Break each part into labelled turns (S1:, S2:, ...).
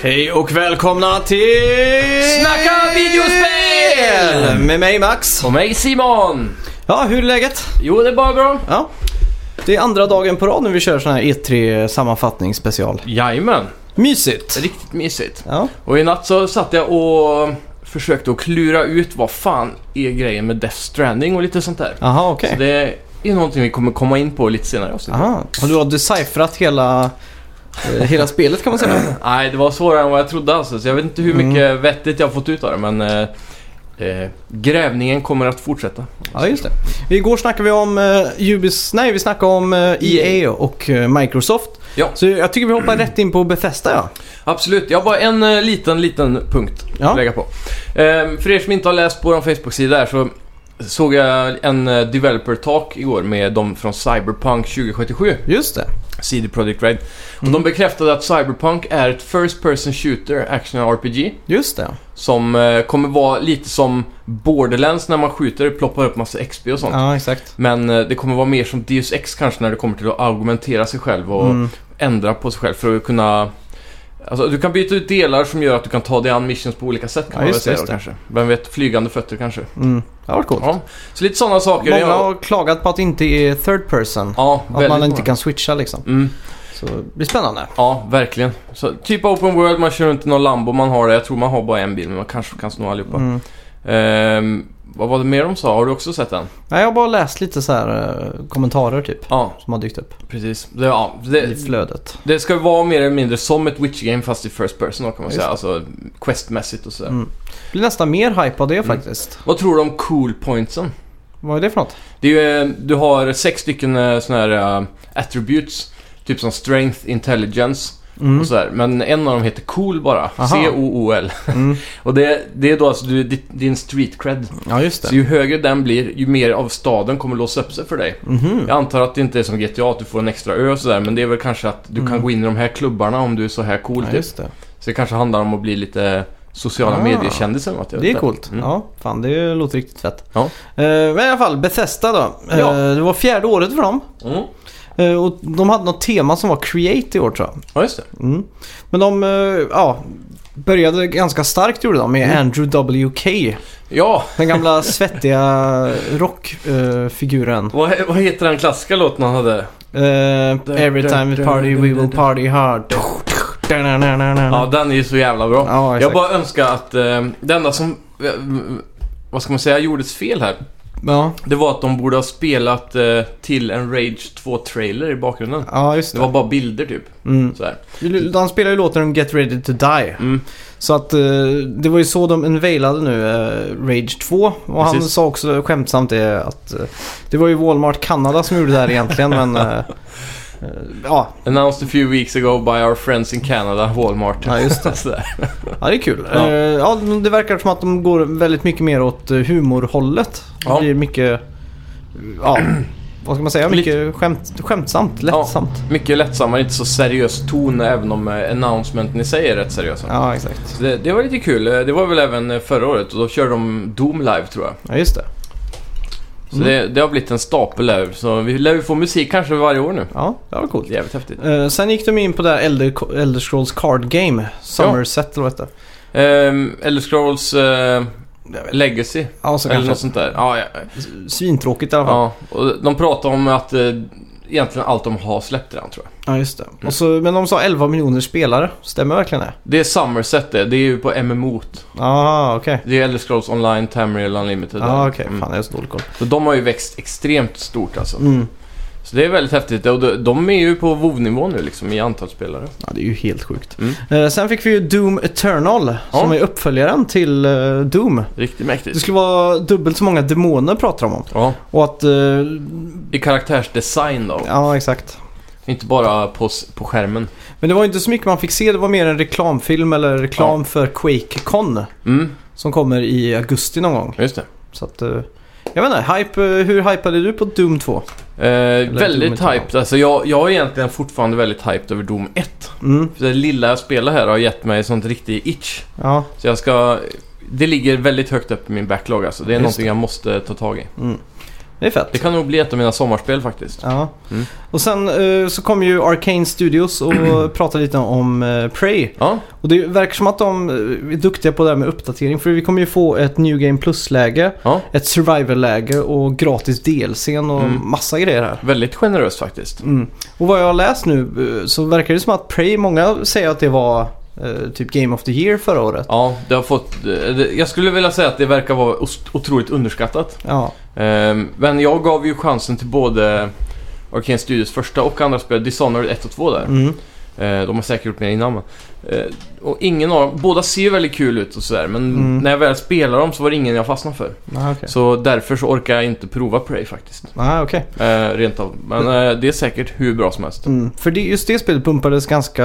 S1: Hej och välkomna till...
S2: Snacka videospel!
S1: Med mig Max.
S2: Och mig Simon!
S1: Ja, hur är läget?
S2: Jo, det är bara bra.
S1: Ja. Det är andra dagen på rad nu vi kör sån här E3 sammanfattningsspecial.
S2: Jajamän,
S1: Mysigt!
S2: riktigt mysigt.
S1: Ja,
S2: Och i natt så satt jag och försökte att klura ut vad fan är grejen med Death Stranding och lite sånt där.
S1: aha okej.
S2: Så det är någonting vi kommer komma in på lite senare i avsnittet.
S1: Aha. Och du har deciphrat hela, eh, hela spelet kan man säga.
S2: Nej, det var svårare än vad jag trodde alltså. Så jag vet inte hur
S1: Mm.
S2: mycket vettigt jag har fått ut av det, men eh, eh, grävningen kommer att fortsätta.
S1: Ja, just det. Igår snackade vi om eh, Ubis... Nej, vi snackade om eh, EA och eh, Microsoft.
S2: Ja.
S1: Så jag tycker vi hoppar rätt in på Bethesda ja.
S2: Absolut, jag har bara en eh, liten, liten punkt
S1: Ja.
S2: att lägga på. Ehm, för er som inte har läst på vår Facebook-sida här så såg jag en eh, developer talk igår med de från Cyberpunk 2077,
S1: Just det.
S2: CD Projekt Red. Och
S1: Mm.
S2: de bekräftade att Cyberpunk är ett First Person Shooter Action RPG
S1: Just det.
S2: som eh, kommer vara lite som Borderlands när man skjuter, ploppar upp massa XP och sånt.
S1: Ja, exakt.
S2: Men eh, det kommer vara mer som Deus Ex kanske när det kommer till att argumentera sig själv och
S1: Mm.
S2: ändra på sig själv för att kunna... Alltså, du kan byta ut delar som gör att du kan ta dig an missions på olika sätt kan
S1: Ja,
S2: man väl
S1: just det,
S2: säga då,
S1: just det.
S2: kanske. Vem vet, flygande fötter kanske.
S1: Mm. Det har varit coolt.
S2: Ja. Så lite sådana saker.
S1: Många
S2: ja,
S1: har klagat på att det inte är third person.
S2: ja,
S1: Att
S2: väldigt
S1: man inte
S2: många.
S1: kan switcha liksom.
S2: Mm,
S1: Så det blir spännande.
S2: ja, verkligen. Så, typ open world, man kör runt i någon Lambo man har det. Jag tror man har bara en bil men man kanske kan sno allihopa.
S1: Mm.
S2: Ehm, vad var det mer de sa? Har du också sett den?
S1: Nej, jag har bara läst lite så här eh, kommentarer typ.
S2: Ja,
S1: Som har dykt upp
S2: precis. Det, ja,
S1: i
S2: det,
S1: flödet.
S2: det ska vara mer eller mindre som ett Witch-game fast i First Person då, kan man
S1: Just
S2: säga. Alltså questmässigt och sådär.
S1: Mm. Det blir nästan mer hype av
S2: Mm.
S1: det faktiskt.
S2: Vad tror du om cool pointsen?
S1: Vad är det för något?
S2: Det är ju, eh, du har sex stycken eh, såna här eh, attributes. Typ som strength, intelligence
S1: Mm.
S2: och sådär. Men en av dem heter cool bara.
S1: Aha.
S2: C-O-O-L.
S1: Mm.
S2: Och det, det är då alltså du, ditt- din street cred.
S1: Ja, just
S2: Så ju högre den blir, ju mer av staden kommer låsa upp sig för dig.
S1: Mhm.
S2: Jag antar att det inte är som GTA, att du får en extra ö och sådär. Men det är väl kanske att du kan
S1: Mm.
S2: gå in i de här klubbarna om du är så här cool.
S1: Ja,
S2: typ.
S1: just det.
S2: Så det kanske handlar om att bli lite sociala
S1: Ah.
S2: mediekändis eller något. jag
S1: Det
S2: vet
S1: är
S2: inte.
S1: coolt.
S2: Mm.
S1: Ja, fan det låter riktigt fett.
S2: Ja.
S1: Eh, Men i alla fall, Bethesda då. Eh,
S2: Ja.
S1: Det var fjärde året för dem.
S2: Mm.
S1: Eh, Och de hade något tema som var Create i år tror jag.
S2: Ja, just det.
S1: Mm. Men de eh, ja, började ganska starkt gjorde de med
S2: Mm.
S1: Andrew W.K.
S2: Ja,
S1: Den gamla svettiga eh, rockfiguren.
S2: vad, vad heter den klassiska låten han hade?
S1: Eh, every time we party we will party hard.
S2: Ja, den är ju så jävla bra.
S1: Ja,
S2: jag
S1: exakt.
S2: bara önskar att eh, det enda som, eh, vad ska man säga, gjordes fel här.
S1: Ja,
S2: Det var att de borde ha spelat eh, till en Rage 2-trailer i bakgrunden.
S1: ja just
S2: Det
S1: det.
S2: var bara bilder typ.
S1: Mm.
S2: Sådär.
S1: Han spelar ju låten Get Ready To Die.
S2: Mm.
S1: Så att eh, det var ju så de unveilade nu eh, Rage 2. Och han
S2: Precis.
S1: sa också skämtsamt det att eh, det var ju Walmart Kanada som gjorde det här egentligen men eh, eh, ja,
S2: Announced a few weeks ago by our friends in Canada, Walmart.
S1: Ja, just det.
S2: Sådär.
S1: Ja, det är kul.
S2: Ja.
S1: Ja. ja, det verkar som att de går väldigt mycket mer åt eh, humorhållet. Det
S2: Ja.
S1: blir mycket, ja, vad ska man säga,
S2: Lite-
S1: mycket skämt, skämtsamt, lättsamt.
S2: Mycket lättsammare, inte så seriös ton även om eh, announcementen i sig är rätt seriösa.
S1: Ja, exakt.
S2: Så det, det var lite kul. Eh, Det var väl även eh, förra året och då körde de Doom live tror jag.
S1: Ja, just det.
S2: Så
S1: Mm.
S2: det, det har blivit en stapel där. Så vi lär ju få musik kanske varje år nu.
S1: Ja, det var coolt.
S2: Jävligt häftigt.
S1: Eh, sen gick de in på det här Elder, Elder Scrolls Card Game, Somerset eller vad det hette.
S2: Ehm, Elder Scrolls eh, Legacy.
S1: Ja, så
S2: Eller något
S1: kanske.
S2: sånt där. Ja, ja.
S1: Svintråkigt i alla fall. Ja,
S2: ja. Och de pratar om att eh, egentligen allt de har släppt redan tror jag.
S1: just det.
S2: Mm.
S1: Och så, men de sa 11 miljoner spelare. Stämmer verkligen det?
S2: Det är Somerset det. Det är ju på MMO. -t.
S1: Ja, ah, okej.
S2: Det är Elder Scrolls Online, Tamriel Unlimited.
S1: Ja, ah, okej.
S2: Mm.
S1: Fan, jag har så dålig koll.
S2: Så de har ju växt extremt stort alltså.
S1: Mm.
S2: Så det är väldigt häftigt. Och de- de är ju på WoW-nivå nu liksom i antal spelare.
S1: Ja, det är ju helt sjukt.
S2: Mm.
S1: Eh, sen fick vi ju Doom Eternal som
S2: Ja.
S1: är uppföljaren till eh, Doom.
S2: Riktigt
S1: Det
S2: mäktigt.
S1: skulle vara dubbelt så många demoner pratar de om.
S2: Ja,
S1: Och att... eh,
S2: i karaktärsdesign då.
S1: ja, exakt.
S2: Inte bara på, s- på skärmen.
S1: Men det var inte så mycket man fick se. Det var mer en reklamfilm eller reklam för QuakeCon.
S2: Mm,
S1: Som kommer i augusti någon gång.
S2: just det.
S1: Så att... eh, jag vet inte, hype, eh, hur hypade du på Doom 2?
S2: Eh,
S1: Doom
S2: väldigt
S1: Eternal.
S2: hyped. Alltså, jag, jag är egentligen fortfarande väldigt hyped över Doom 1.
S1: Mm,
S2: För det lilla jag spelar här har gett mig sånt riktigt itch.
S1: ja.
S2: Så jag ska... Det ligger väldigt högt upp i min backlog alltså. Det är
S1: Just
S2: någonting
S1: det.
S2: jag måste ta tag i.
S1: Mm. Det är fett.
S2: Det kan nog bli ett av mina sommarspel faktiskt.
S1: Ja.
S2: Mm.
S1: Och sen eh, så kom ju Arcane Studios och pratade lite om eh, Prey.
S2: Ja,
S1: Och det verkar som att de eh, är duktiga på det här med uppdatering. För vi kommer ju få ett New Game Plus-läge,
S2: ja.
S1: ett Survival-läge och gratis DLC och
S2: Mm.
S1: massa grejer här.
S2: Väldigt generöst faktiskt.
S1: Mm. Och vad jag har läst nu eh, så verkar det som att Prey, många säger att det var eh, typ Game of the Year förra året.
S2: Ja, det har fått... eh, det- Jag skulle vilja säga att det verkar vara os- otroligt underskattat.
S1: Ja,
S2: Ehm, Men jag gav ju chansen till både Arcane Studios första och andra spel, Dishonored 1 och 2 där.
S1: mm.
S2: Eh, De har säkert gjort mer innan men. Eh, Och ingen av dem, båda ser ju väldigt kul ut och sådär men
S1: Mm.
S2: när jag väl spelar dem så var det ingen jag fastnade för.
S1: Ah, okej.
S2: Så därför så orkar jag inte prova Prey faktiskt.
S1: Ah, okej.
S2: Eh, Rent av. Men eh, det är säkert hur bra som helst.
S1: Mm. För det, just det spelet pumpades ganska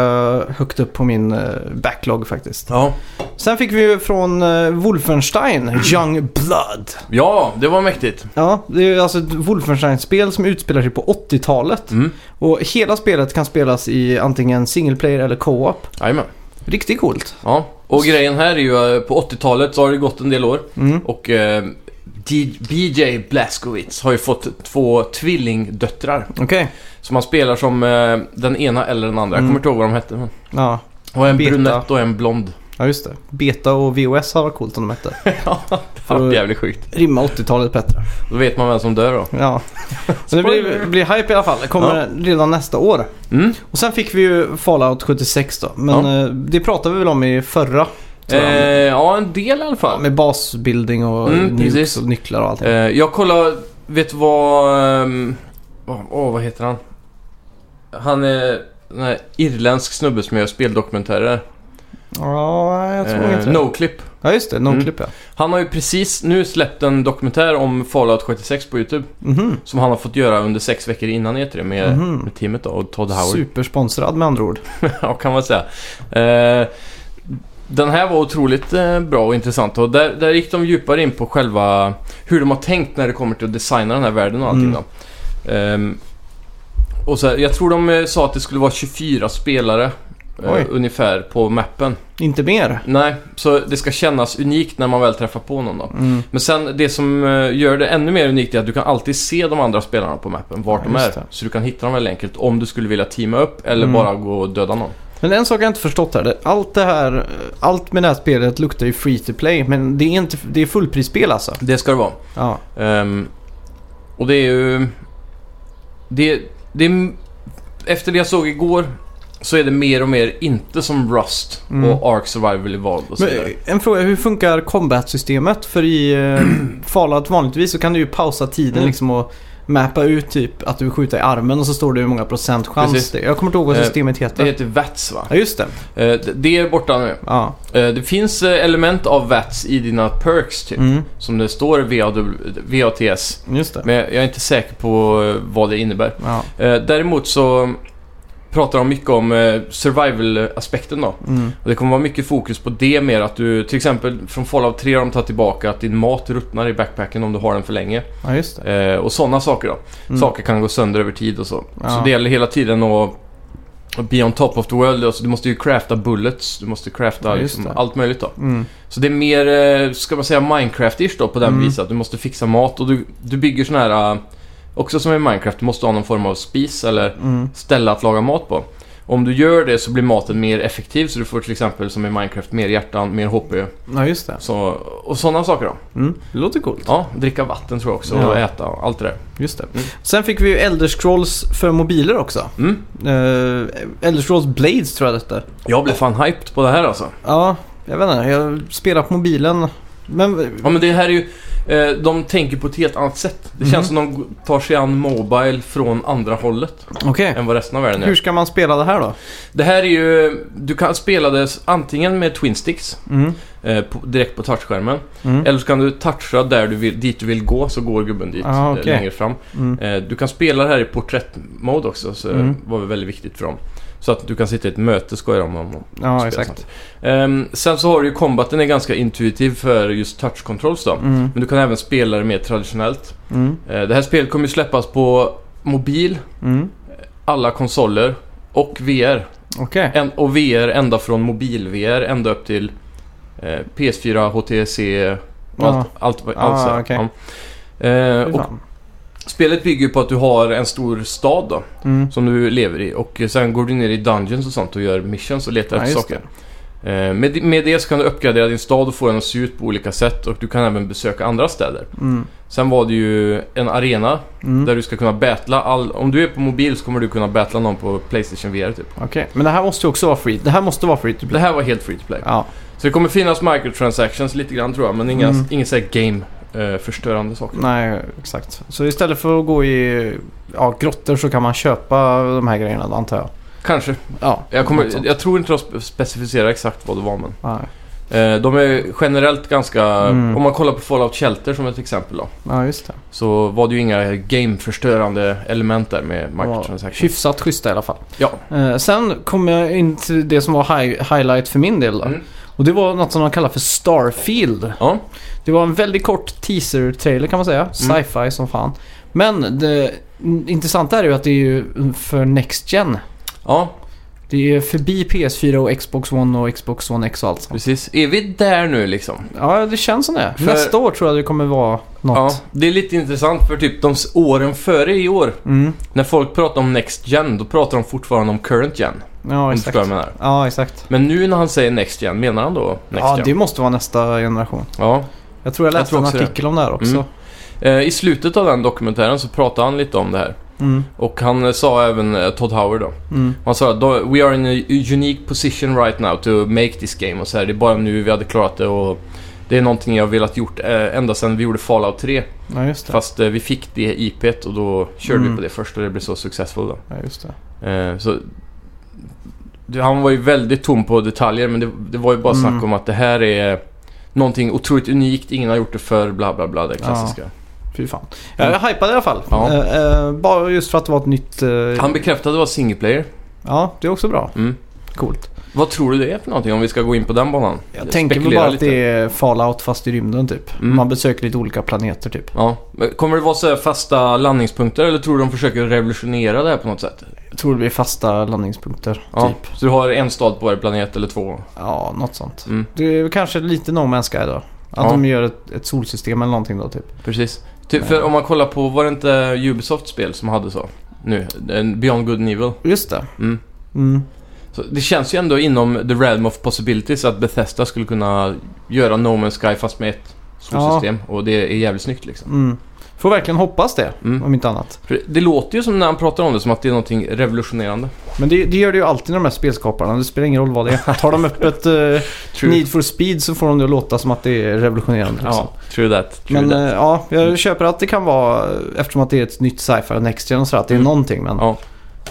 S1: högt upp på min eh, backlog faktiskt.
S2: Ja.
S1: Sen fick vi ju från eh, Wolfenstein, Young Blood.
S2: ja, det var mäktigt.
S1: Ja, det är ju alltså ett Wolfenstein-spel som utspelar sig på 80-talet.
S2: Mm.
S1: Och hela spelet kan spelas i antingen single player eller co-op.
S2: Jajamän.
S1: Riktigt coolt.
S2: Ja. Och grejen här är ju eh, på 80-talet så har det gått en del år
S1: Mm.
S2: och eh, D- BJ Blazkowicz har ju fått två tvillingdöttrar.
S1: Okej.
S2: Som man spelar som eh, den ena eller den andra.
S1: Mm.
S2: Jag kommer inte ihåg vad de hette. men-
S1: Ja.
S2: Och en
S1: Beta.
S2: brunett och en blond.
S1: ja, just det. Beta och VOS har varit coolt om de hette.
S2: Ja,
S1: var
S2: fan, jävligt sjukt.
S1: Rimma 80-talet bättre.
S2: Då vet man vem som dör då.
S1: Ja. Men det blir, blir hype i alla fall. Det kommer redan nästa år.
S2: Mm.
S1: Och sen fick vi ju Fallout 76 då. Men eh, det pratade vi väl om i förra. tror
S2: Eh,
S1: jag.
S2: ja, en del i alla
S1: Ja,
S2: fall.
S1: med basbuilding och
S2: Mm,
S1: nukes
S2: precis.
S1: och nycklar och allting.
S2: Eh, jag kollar, vet du vad... ehm, Åh, åh, vad heter han? Han är den här irländsk snubbe som gör speldokumentärer.
S1: Ja, jag tror
S2: Eh, Mm.
S1: inte det.
S2: Noclip.
S1: Ja, just det. Noclip ja.
S2: Han har ju precis nu släppt en dokumentär om Fallout 76 på YouTube.
S1: Mhm.
S2: Som han har fått göra under sex veckor innan E3 med,
S1: Mhm.
S2: med teamet då, och Todd Howard.
S1: Supersponsrad med andra ord.
S2: Ja, kan man säga. Eh, den här var otroligt eh, bra och intressant och där, där gick de djupare in på själva hur de har tänkt när det kommer till att designa den här världen och allting
S1: Mm.
S2: då. Ehm, och så här, jag tror de eh, sa att det skulle vara 24 spelare eh,
S1: Oj.
S2: ungefär på mappen.
S1: Inte mer.
S2: Nej, så det ska kännas unikt när man väl träffar på någon då.
S1: Mm.
S2: Men sen det som eh, gör det ännu mer unikt är att du kan alltid se de andra spelarna på mappen, vart
S1: Ja,
S2: de är.
S1: just det.
S2: Så du kan hitta dem väldigt enkelt om du skulle vilja teama upp eller
S1: Mm.
S2: bara gå och döda någon.
S1: Men en sak jag inte förstått här. det- Allt det här, eh, allt med det här spelet luktar ju free to play. Men det är, inte, det är fullprisspel alltså.
S2: Det ska det vara.
S1: Ja.
S2: Ehm, och det är ju... Det, det är, efter det jag såg igår så är det mer och mer inte som Rust
S1: Mm.
S2: och Ark Survival Evolved och så
S1: Men,
S2: vidare.
S1: eh, en fråga, hur funkar combat-systemet? För i eh, Fallout vanligtvis så kan du ju pausa tiden
S2: Mm.
S1: liksom och mappa ut typ att du skjuter i armen och så står det hur många procent chans
S2: Precis.
S1: det är. Jag kommer inte ihåg vad
S2: Eh,
S1: systemet
S2: Det
S1: heter.
S2: heter VATS va?
S1: Ja, just det.
S2: Eh, det- det är borta nu.
S1: Ja.
S2: Eh, det finns eh, element av VATS i dina perks typ.
S1: Mm.
S2: Som det står VAW- VATS.
S1: Just det.
S2: Men jag är inte säker på eh, vad det innebär.
S1: Ja.
S2: Eh, däremot så pratar de mycket om eh, survival-aspekten då.
S1: Mm.
S2: Och det kommer vara mycket fokus på det mer att du, till exempel från Fallout 3 har de tagit tillbaka att din mat ruttnar i backpacken om du har den för länge.
S1: ja, just det.
S2: Eh, och sådana saker då.
S1: Mm.
S2: Saker kan gå sönder över tid och så.
S1: Ja.
S2: Så det gäller hela tiden att att be on top of the world. Alltså, du måste ju crafta bullets, du måste crafta
S1: Ja, just
S2: liksom,
S1: det.
S2: allt möjligt då.
S1: Mm.
S2: Så det är mer, eh, ska man säga Minecraft-ish då på den
S1: Mm.
S2: viset. Att du måste fixa mat och du, du bygger sådana här, eh, också som i Minecraft, du måste ha någon form av spis eller
S1: Mm.
S2: ställe att laga mat på. Om du gör det så blir maten mer effektiv så du får till exempel som i Minecraft mer hjärtan, mer HP
S1: Ja, just det.
S2: så, och sådana saker då.
S1: Mm. Det låter coolt.
S2: Ja, dricka vatten tror jag också
S1: Ja.
S2: och äta och allt det där.
S1: Just det.
S2: Mm.
S1: Sen fick vi ju Elder Scrolls för mobiler också.
S2: Mm.
S1: Eh, Elder Scrolls Blades tror jag detta.
S2: Jag blev fan hyped på det här alltså.
S1: Ja, jag vet inte. Jag spelar på mobilen. Men...
S2: Ja men det här är ju, eh, de tänker på ett helt annat sätt. Det
S1: Mhm.
S2: känns som de tar sig an Mobile från andra hållet
S1: Okej.
S2: än vad resten av världen
S1: Hur
S2: gör.
S1: ska man spela det här då?
S2: Det här är ju, du kan spela det antingen med Twin Sticks
S1: Mm.
S2: eh, på, direkt på touchskärmen.
S1: Mm.
S2: Eller så kan du toucha där du vill, dit du vill gå så går gubben dit
S1: Ah,
S2: eh,
S1: okej.
S2: längre fram.
S1: Mm.
S2: Eh, Du kan spela det här i porträttmode också, så
S1: Mm.
S2: var väl väldigt viktigt för dem. Så att du kan sitta i ett möte skojar de om. och
S1: Ja,
S2: spela
S1: exakt.
S2: sånt. Ehm, sen så har du ju combaten är ganska intuitiv för just touch controls då.
S1: Mm.
S2: Men du kan även spela det mer traditionellt.
S1: Mm.
S2: Eh, det här spelet kommer ju släppas på mobil,
S1: Mm.
S2: alla konsoler och VR.
S1: Okej.
S2: En, och VR ända från mobil-VR ända upp till eh, PS4, HTC och
S1: Ja.
S2: allt, allt, allt,
S1: Ah,
S2: så här.
S1: okej.
S2: Ja. Eh,
S1: Fy
S2: och
S1: fan.
S2: Spelet bygger ju på att du har en stor stad då,
S1: Mm.
S2: som du lever i. Och sen går du ner i dungeons och sånt och gör missions och letar
S1: Ja,
S2: efter
S1: just
S2: saker. Eh, Med, med det så kan du uppgradera din stad och få den att se ut på olika sätt och du kan även besöka andra städer.
S1: Mm.
S2: Sen var det ju en arena
S1: Mm.
S2: där du ska kunna battla all... Om du är på mobil så kommer du kunna battla någon på Playstation VR typ.
S1: Okej, men det här måste ju också vara free. Det här måste vara free to
S2: Det
S1: play.
S2: här var helt free to play.
S1: Ja,
S2: Så det kommer finnas microtransactions lite grann tror jag, men inga,
S1: Mm.
S2: inga såhär game-förstörande eh, saker.
S1: nej, exakt. Så istället för att gå i ja, grottor så kan man köpa de här grejerna, antar jag. Liksom.
S2: Kanske.
S1: Ja,
S2: Jag,
S1: något
S2: kommer,
S1: sånt.
S2: jag tror inte de spe- specificerar exakt vad det var men.
S1: Nej.
S2: Eh, de är generellt ganska...
S1: Mm.
S2: Om man kollar på Fallout Shelter som ett exempel då.
S1: Ja, just det.
S2: Så var det ju inga game-förstörande element där med
S1: De var
S2: microtransactions.
S1: Hyfsat schyssta i alla fall.
S2: Ja.
S1: Eh, sen kom jag in till det som var hi- highlight för min del. Då.
S2: Mm.
S1: Och det var något som de kallar för Starfield.
S2: Ja.
S1: Det var en väldigt kort teaser-trailer kan man
S2: Mm.
S1: säga. Sci-fi som fan. Men det intressanta är ju att det är ju för Next Gen.
S2: ja,
S1: Det är förbi PS4 och Xbox One och Xbox One X och allt sånt.
S2: precis. Är vi där nu liksom?
S1: Ja, det känns som det.
S2: För-
S1: Nästa år tror jag det kommer vara
S2: Ja,
S1: något.
S2: det är lite intressant för typ de s- åren före i år.
S1: Mm.
S2: När folk pratar om Next Gen, då pratar de fortfarande om Current Gen.
S1: ja
S2: om du
S1: exakt.
S2: förstår vad jag menar.
S1: Ja, exakt.
S2: Men nu när han säger Next Gen, menar han då Next
S1: ja,
S2: Gen?
S1: det måste vara nästa generation.
S2: Ja.
S1: Jag tror jag
S2: Jag
S1: läste
S2: tror
S1: en
S2: också det.
S1: artikel om det här också.
S2: Eh, I slutet av den dokumentären så pratar han lite om det här.
S1: Mm.
S2: Och han eh, sa även, eh, Todd Howard då.
S1: Mm.
S2: Han sa att "Då- “We are in a unique position right now to make this game” och så här, det är bara nu vi hade klarat det och det är någonting jag har velat gjort eh, ända sedan vi gjorde Fallout 3.
S1: Ja, just det.
S2: Fast eh, vi fick det IPet och då körde vi
S1: Mm.
S2: på det först och det blev så successful då.
S1: Ja, just det.
S2: Eh, så, det, han var ju väldigt tom på detaljer men det, det var ju bara
S1: Mm.
S2: snack om att det här är någonting otroligt unikt, ingen har gjort det för bla bla bla, det klassiska.
S1: Fy fan. Jag är hypad i alla fall.
S2: Mm. Ja.
S1: Eh, eh, bara just för att det var ett nytt... eh,
S2: Han bekräftade att det var single player.
S1: Ja, det är också bra.
S2: Mm.
S1: Coolt.
S2: Vad tror du det är för någonting om vi ska gå in på den banan?
S1: Jag tänker väl
S2: Spekulera
S1: bara att
S2: lite.
S1: det är Fallout fast i rymden typ.
S2: Mm.
S1: Man besöker lite olika planeter typ.
S2: Ja. Men Kommer det vara så här fasta landningspunkter eller tror du de försöker revolutionera det här på något sätt?
S1: Jag tror det blir fasta landningspunkter.
S2: Ja.
S1: Typ.
S2: Så du har en stad på varje planet eller två?
S1: Ja, något sånt.
S2: Mm,
S1: Det är väl kanske lite No Man's Sky då. Att
S2: Ja.
S1: de gör ett, ett solsystem eller någonting då typ.
S2: precis. Ty, för om man kollar på, var det inte Ubisofts spel som hade så? Nu, en Beyond Good and Evil.
S1: Just det.
S2: Mm.
S1: Mm.
S2: Så det känns ju ändå inom the realm of possibilities att Bethesda skulle kunna göra No Man's Sky fast med ett solsystem. Och det är jävligt snyggt liksom.
S1: Mm. Får verkligen hoppas det.
S2: Mm.
S1: Om inte annat.
S2: För det låter ju som när han pratar om det som att det är någonting revolutionerande.
S1: Men det, det gör det ju alltid när de här spelskaparna. Det spelar ingen roll vad det är. Tar de upp ett eh, Need for Speed så får de det att låta som att det är revolutionerande. liksom.
S2: Ja, true that. True
S1: Men
S2: that.
S1: eh, ja, jag köper att det kan vara, eh, eftersom att det är ett nytt sci-fi och next gen och sådär, att det är
S2: Mm.
S1: någonting men
S2: Ja.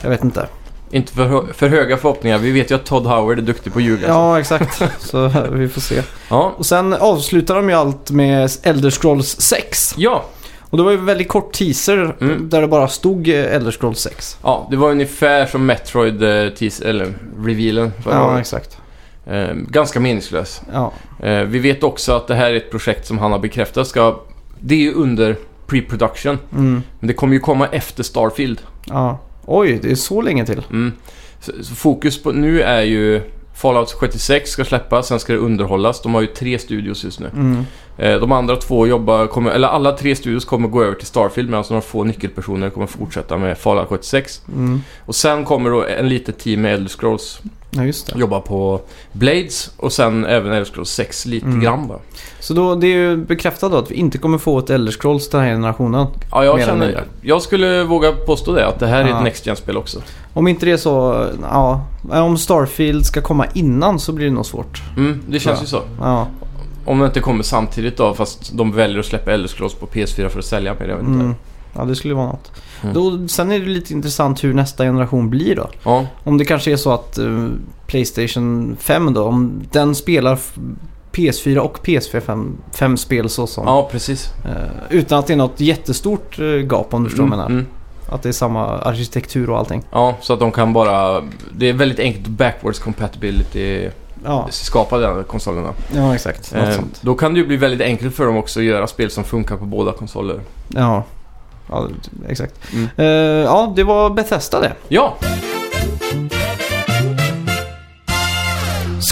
S1: jag vet inte.
S2: Inte för, hö- för höga förhoppningar. Vi vet ju att Todd Howard är duktig på att ljuga. så-
S1: Ja, exakt. Så vi får se.
S2: Ja.
S1: Och sen avslutar de ju allt med Elder Scrolls 6.
S2: Ja.
S1: Och det var ju en väldigt kort teaser
S2: Mm.
S1: där det bara stod eh, Elder Scrolls 6.
S2: ja, det var ungefär som Metroid eh, teas- eller revealen förra
S1: Ja,
S2: året.
S1: exakt.
S2: Eh, ganska meningslös.
S1: Ja.
S2: Eh, vi vet också att det här är ett projekt som han har bekräftat ska... Det är ju under pre-production.
S1: Mm.
S2: Men det kommer ju komma efter Starfield.
S1: ja. Oj, det är så länge till.
S2: Mm. Så, så fokus på nu är ju... Fallout 76 ska släppas, sen ska det underhållas. De har ju tre studios just nu.
S1: Mm.
S2: Eh, De andra två jobbar, kommer, eller alla tre studios kommer gå över till Starfield medan några få nyckelpersoner kommer fortsätta med Fallout 76.
S1: Mm.
S2: Och sen kommer då en litet team med Elder Scrolls
S1: Ja, just det.
S2: jobba på Blades och sen även Elder Scrolls 6 lite
S1: Mm.
S2: grann då.
S1: Så då, det är ju bekräftat då att vi inte kommer få ett Elder Scrolls den här generationen.
S2: Ja, jag
S1: Mer eller
S2: känner,
S1: mindre.
S2: jag skulle våga påstå det att det här är
S1: Ja.
S2: ett Next Gen-spel också.
S1: Om inte det är så, ja. Om Starfield ska komma innan så blir det nog svårt.
S2: Mm, det känns
S1: Ja.
S2: ju så.
S1: Ja,
S2: Om det inte kommer samtidigt då fast de väljer att släppa Elder Scrolls på PS4 för att sälja mer, jag vet inte.
S1: mm. ja det skulle vara något.
S2: Mm.
S1: Då, sen är det lite intressant hur nästa generation blir då.
S2: Ja,
S1: Om det kanske är så att eh, Playstation 5 då, om den spelar f- PS4 och PS4 5, fem spel så som.
S2: ja precis.
S1: Eh, utan att det är något jättestort eh, gap om du förstår vad jag
S2: Mm,
S1: menar.
S2: mm.
S1: Att det är samma arkitektur och allting.
S2: Ja, så att de kan bara... Det är väldigt enkelt backwards compatibility
S1: Ja,
S2: skapa de här konsolerna.
S1: ja exakt. Något
S2: Eh,
S1: sånt.
S2: då kan det ju bli väldigt enkelt för dem också att göra spel som funkar på båda konsoler.
S1: Ja. ja, exakt.
S2: Mm.
S1: Eh, ja, det var Bethesda det.
S2: Ja!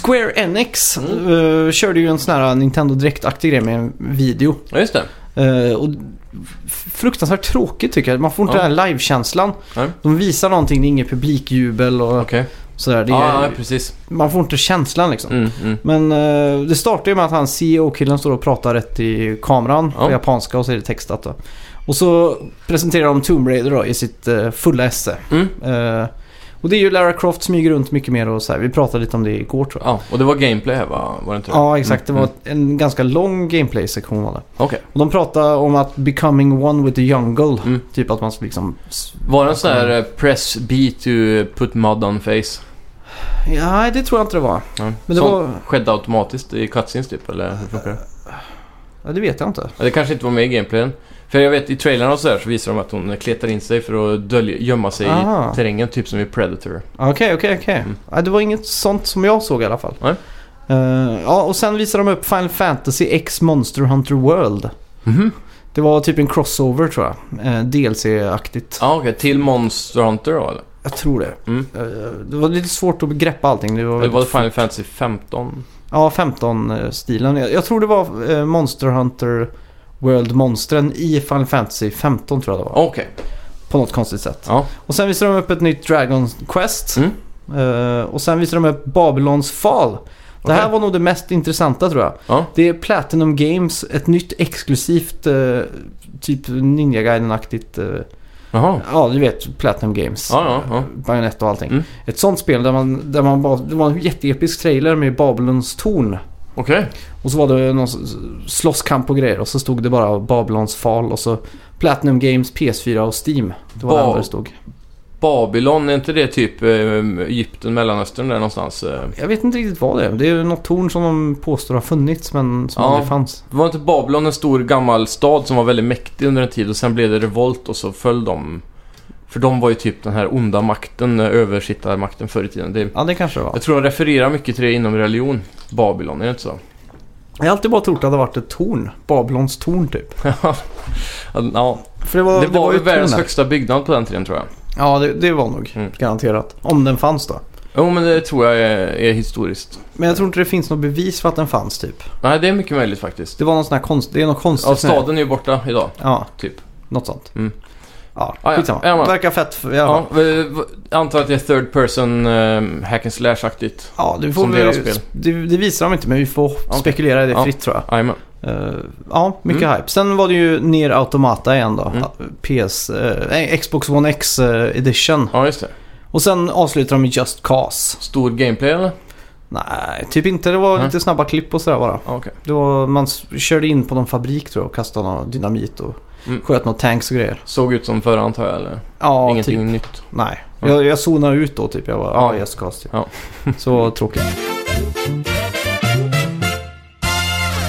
S1: Square Enix eh, körde ju en sån här Nintendo Direct-aktig grej med en video.
S2: Ja, just det.
S1: Eh, och f- fruktansvärt tråkigt tycker jag. Man får inte
S2: Ja.
S1: den här livekänslan.
S2: Nej.
S1: De visar någonting, det är inget publikjubel och
S2: Okej.
S1: sådär. Det är,
S2: Ja, ja, precis.
S1: man får inte känslan liksom.
S2: Mm, mm.
S1: Men eh, det startar ju med att han CEO-killen står och pratar rätt i kameran på
S2: Ja.
S1: japanska och så är det textat då. Och så presenterar de Tomb Raider då i sitt eh, fulla esse.
S2: Mm.
S1: Eh, och det är ju Lara Croft smyger runt mycket mer och så här. Vi pratade lite om det igår tror jag.
S2: Ja, och det var gameplay här va? Var det inte det?
S1: Ja, exakt. Det var
S2: Mm.
S1: en ganska lång gameplay-sektion var det.
S2: Okej.
S1: Och de pratade om att becoming one with the jungle.
S2: Mm.
S1: Typ att man ska liksom... s-
S2: Var det en sån här eh, press beat you put mud on face?
S1: Ja, nej, det tror jag inte det var.
S2: Ja.
S1: Men det
S2: Sånt
S1: var...
S2: skedde automatiskt i cutscenes typ, eller hur funkar det?
S1: Ja, det vet jag inte.
S2: Ja, det kanske inte var med i gameplayen. För jag vet i trailern och sådär så visar de att hon kletar in sig för att dölja, gömma sig
S1: Aha.
S2: i terrängen, typ som i Predator.
S1: Ah, Okej, okej, okej.
S2: Mm.
S1: Ja, Det var inget sånt som jag såg i alla fall.
S2: Nej.
S1: Eh, ja, och sen visar de upp Final Fantasy X Monster Hunter World.
S2: Mhm.
S1: Det var typ en crossover tror jag. Eh, DLC-aktigt.
S2: Ja, okej. Till Monster Hunter då eller?
S1: Jag tror det.
S2: Mm.
S1: Eh, det var lite svårt att greppa allting. Det var,
S2: Det var
S1: väldigt-
S2: Final Fantasy 15.
S1: Ja, 15-stilen. Jag, jag tror det var eh, Monster Hunter World-monstren i Final Fantasy 15 tror jag det var.
S2: Okej.
S1: På något konstigt sätt.
S2: Ja.
S1: Och sen visar de upp ett nytt Dragon Quest.
S2: Mm.
S1: Eh, och sen visar de upp Babylons Fall. Det här
S2: Okej.
S1: var nog det mest intressanta tror jag.
S2: Ja.
S1: Det är Platinum Games, ett nytt exklusivt eh, typ Ninja Gaiden-aktigt. Eh,
S2: Jaha.
S1: ja, du vet Platinum Games.
S2: Ja, ja, ja.
S1: Bajonett och allting.
S2: Mm.
S1: Ett sånt spel där man, där man bara, det var en jätteepisk trailer med Babylons torn.
S2: Okej.
S1: Och så var det någon s- slåsskamp och grejer och så stod det bara Babylons fall och så Platinum Games, PS4 och Steam. Det var det
S2: Ba-
S1: enda det stod.
S2: Babylon, är inte det typ eh, Egypten, Mellanöstern där någonstans? Eh,
S1: Jag vet inte riktigt vad det är. Det är ju något torn som de påstår har funnits men som
S2: Ja.
S1: aldrig fanns.
S2: Var inte Babylon en stor gammal stad som var väldigt mäktig under en tid och sen blev det revolt och så föll de? För de var ju typ den här onda makten, eh, översittarmakten förr i tiden. Det,
S1: Ja, det kanske det var.
S2: jag tror de refererar mycket till det inom religion, Babylon, är det inte så?
S1: Jag har alltid bara trott att det varit ett torn. Babylons torn typ.
S2: ja,
S1: För det var,
S2: det var ju
S1: ett torn
S2: världens
S1: där.
S2: högsta byggnad på den tiden tror jag.
S1: Ja, det, det var nog.
S2: Mm.
S1: Garanterat. Om den fanns då.
S2: Jo, men det tror jag är, är historiskt.
S1: Men jag tror inte det finns något bevis för att den fanns typ.
S2: Nej, det är mycket möjligt faktiskt.
S1: Det var någon sån här konst... Det är något konstigt.
S2: Ja,
S1: sån här-
S2: staden är ju borta idag.
S1: Ja,
S2: Typ.
S1: något sånt.
S2: Mm.
S1: Ja,
S2: ja.
S1: skitsamma.
S2: Ja, men-
S1: Verkar fett. för- Ja.
S2: Ja, eh, v- antar att det är third person eh, hack and slash-aktigt.
S1: ja, det får
S2: Som
S1: vi...
S2: deras spel.
S1: Det, det visar de inte, men vi får spekulera i det
S2: Ja.
S1: fritt tror jag.
S2: Jajamän.
S1: Eh, ja, mycket
S2: Mm.
S1: hype. Sen var det ju Nier Automata igen då.
S2: Mm.
S1: PS... eh, nej, Xbox One X eh, edition.
S2: Ja, just det.
S1: Och sen avslutar de med Just Cause.
S2: Stor gameplay eller?
S1: Nej, typ inte. Det var
S2: Nej.
S1: lite snabba klipp och sådär bara.
S2: Ja, okej.
S1: Det var, man s- körde in på någon fabrik tror jag och kastade någon dynamit och
S2: Mm.
S1: sköt några tanks och grejer.
S2: Såg ut som förra antar jag eller?
S1: Ja,
S2: Ingenting
S1: typ.
S2: nytt.
S1: Nej.
S2: Mm.
S1: Jag, jag zonade ut då typ. Jag var ja,
S2: Ja.
S1: jag ska typ.
S2: Ja.
S1: Så tråkigt.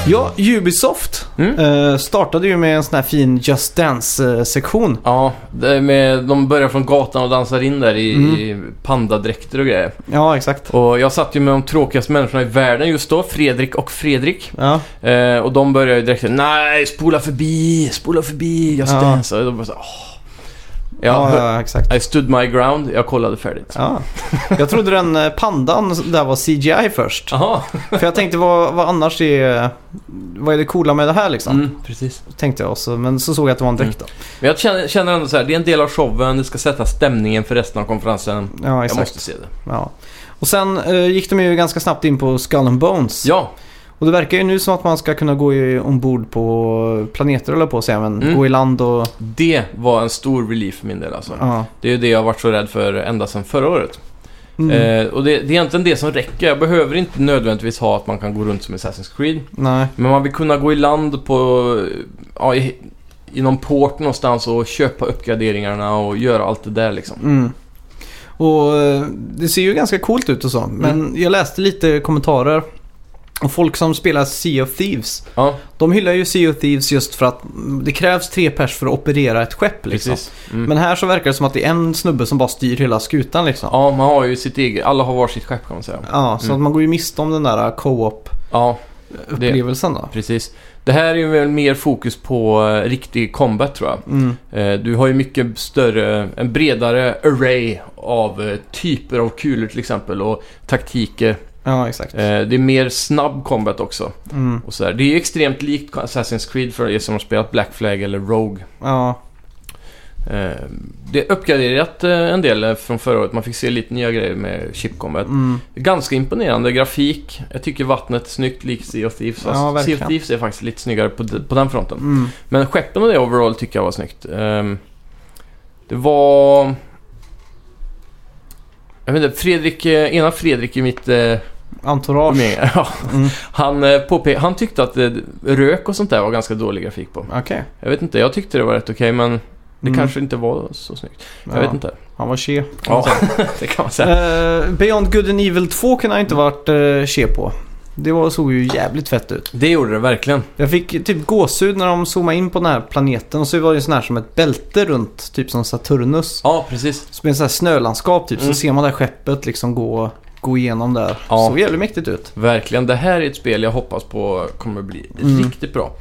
S1: Ja, Ubisoft
S2: Mm.
S1: eh, startade ju med en sån här fin Just Dance-sektion.
S2: Ja, det är med, de börjar från gatan och dansar in där i,
S1: Mm.
S2: i pandadräkter och grejer.
S1: Ja, exakt.
S2: Och jag satt ju med de tråkigaste människorna i världen just då, Fredrik och Fredrik.
S1: Ja,
S2: Eh, och de började ju direkt säga, nej, spola förbi, spola förbi, Just
S1: Ja.
S2: Dance. Och de bara så, här, åh. Jag,
S1: ja, ja exakt.
S2: I stood my ground, jag kollade färdigt.
S1: Ja. Jag trodde den eh, pandan där var CGI först.
S2: Jaha,
S1: För jag tänkte vad, vad annars är... Vad är det coola med det här liksom?
S2: mm, precis.
S1: Tänkte jag också, men så såg jag att det var en dräkt då.
S2: Men jag känner, känner ändå så här, det är en del av showen, det ska sätta stämningen för resten av konferensen.
S1: Ja,
S2: Jag
S1: exakt.
S2: måste se det.
S1: Ja. Och sen eh, gick de ju ganska snabbt in på Skull and Bones.
S2: Ja,
S1: Och det verkar ju nu som att man ska kunna gå i, ombord på planeter eller på att säga, men
S2: Mm.
S1: gå i land och...
S2: Det var en stor relief för min del alltså.
S1: Ja.
S2: Det är ju det jag har varit så rädd för ända sedan förra året.
S1: Mm.
S2: Eh, och det, det är egentligen det som räcker. Jag behöver inte nödvändigtvis ha att man kan gå runt som Assassin's Creed.
S1: Nej.
S2: Men man vill kunna gå i land på, ja, i, i någon port någonstans och köpa uppgraderingarna och göra allt det där liksom.
S1: Mm. Och eh, det ser ju ganska coolt ut och så, men
S2: Mm.
S1: jag läste lite kommentarer. Och folk som spelar Sea of Thieves,
S2: Ja,
S1: de hyllar ju Sea of Thieves just för att mm, det krävs tre pers för att operera ett skepp liksom.
S2: precis. Mm.
S1: Men här så verkar det som att det är en snubbe som bara styr hela skutan liksom.
S2: Ja, man har ju sitt eget, alla har var sitt skepp kan man säga.
S1: Ja, så
S2: Mm.
S1: att man går ju miste om den där co-op
S2: Ja,
S1: upplevelsen då.
S2: precis. Det här är ju väl mer fokus på eh, riktig combat tror jag.
S1: Mm.
S2: Eh, Du har ju mycket större, en bredare array av eh, typer av kulor till exempel och taktiker.
S1: Ja, exakt.
S2: Eh, det är mer snabb combat också.
S1: Mm.
S2: Och så där. Det är ju extremt likt Assassin's Creed för er som har spelat Black Flag eller Rogue.
S1: Ja,
S2: Eh, det är uppgraderat eh, en del eh, från förra året. Man fick se lite nya grejer med Chip Combat.
S1: mm.
S2: Ganska imponerande grafik. Jag tycker vattnet är snyggt likt Sea of Thieves.
S1: Ja,
S2: Fast sea
S1: verkligen.
S2: of Thieves är faktiskt lite snyggare på, d- på den fronten.
S1: Mm.
S2: Men skeppen och det overall tycker jag var snyggt. Ehm, det var... Jag vet inte, Fredrik, eh, ena Fredrik i mitt eh,
S1: Entourage.
S2: umgänge, ja,
S1: Mm.
S2: han, eh, påpe- han tyckte att eh, rök och sånt där var ganska dålig grafik på.
S1: Okej.
S2: Jag vet inte, jag tyckte det var rätt okej men det
S1: Mm.
S2: kanske inte var så snyggt.
S1: Ja,
S2: Jag vet inte.
S1: Han var che. kan man
S2: Ja,
S1: säga.
S2: det kan man säga.
S1: Eh, Beyond Good and Evil 2 kunde jag inte
S2: Mm.
S1: varit uh, che på. Det var, såg ju jävligt fett ut.
S2: Det gjorde det verkligen.
S1: Jag fick typ gåshud när de zoomade in på den här planeten och så var det ju sån här som ett bälte runt, typ som Saturnus.
S2: Ja, precis.
S1: Som är en sån här snölandskap typ,
S2: Mm.
S1: så ser man det här skeppet liksom gå, gå igenom där.
S2: Ja.
S1: Såg jävligt mäktigt ut.
S2: Verkligen. Det här är ett spel jag hoppas på kommer bli
S1: Mm.
S2: riktigt bra.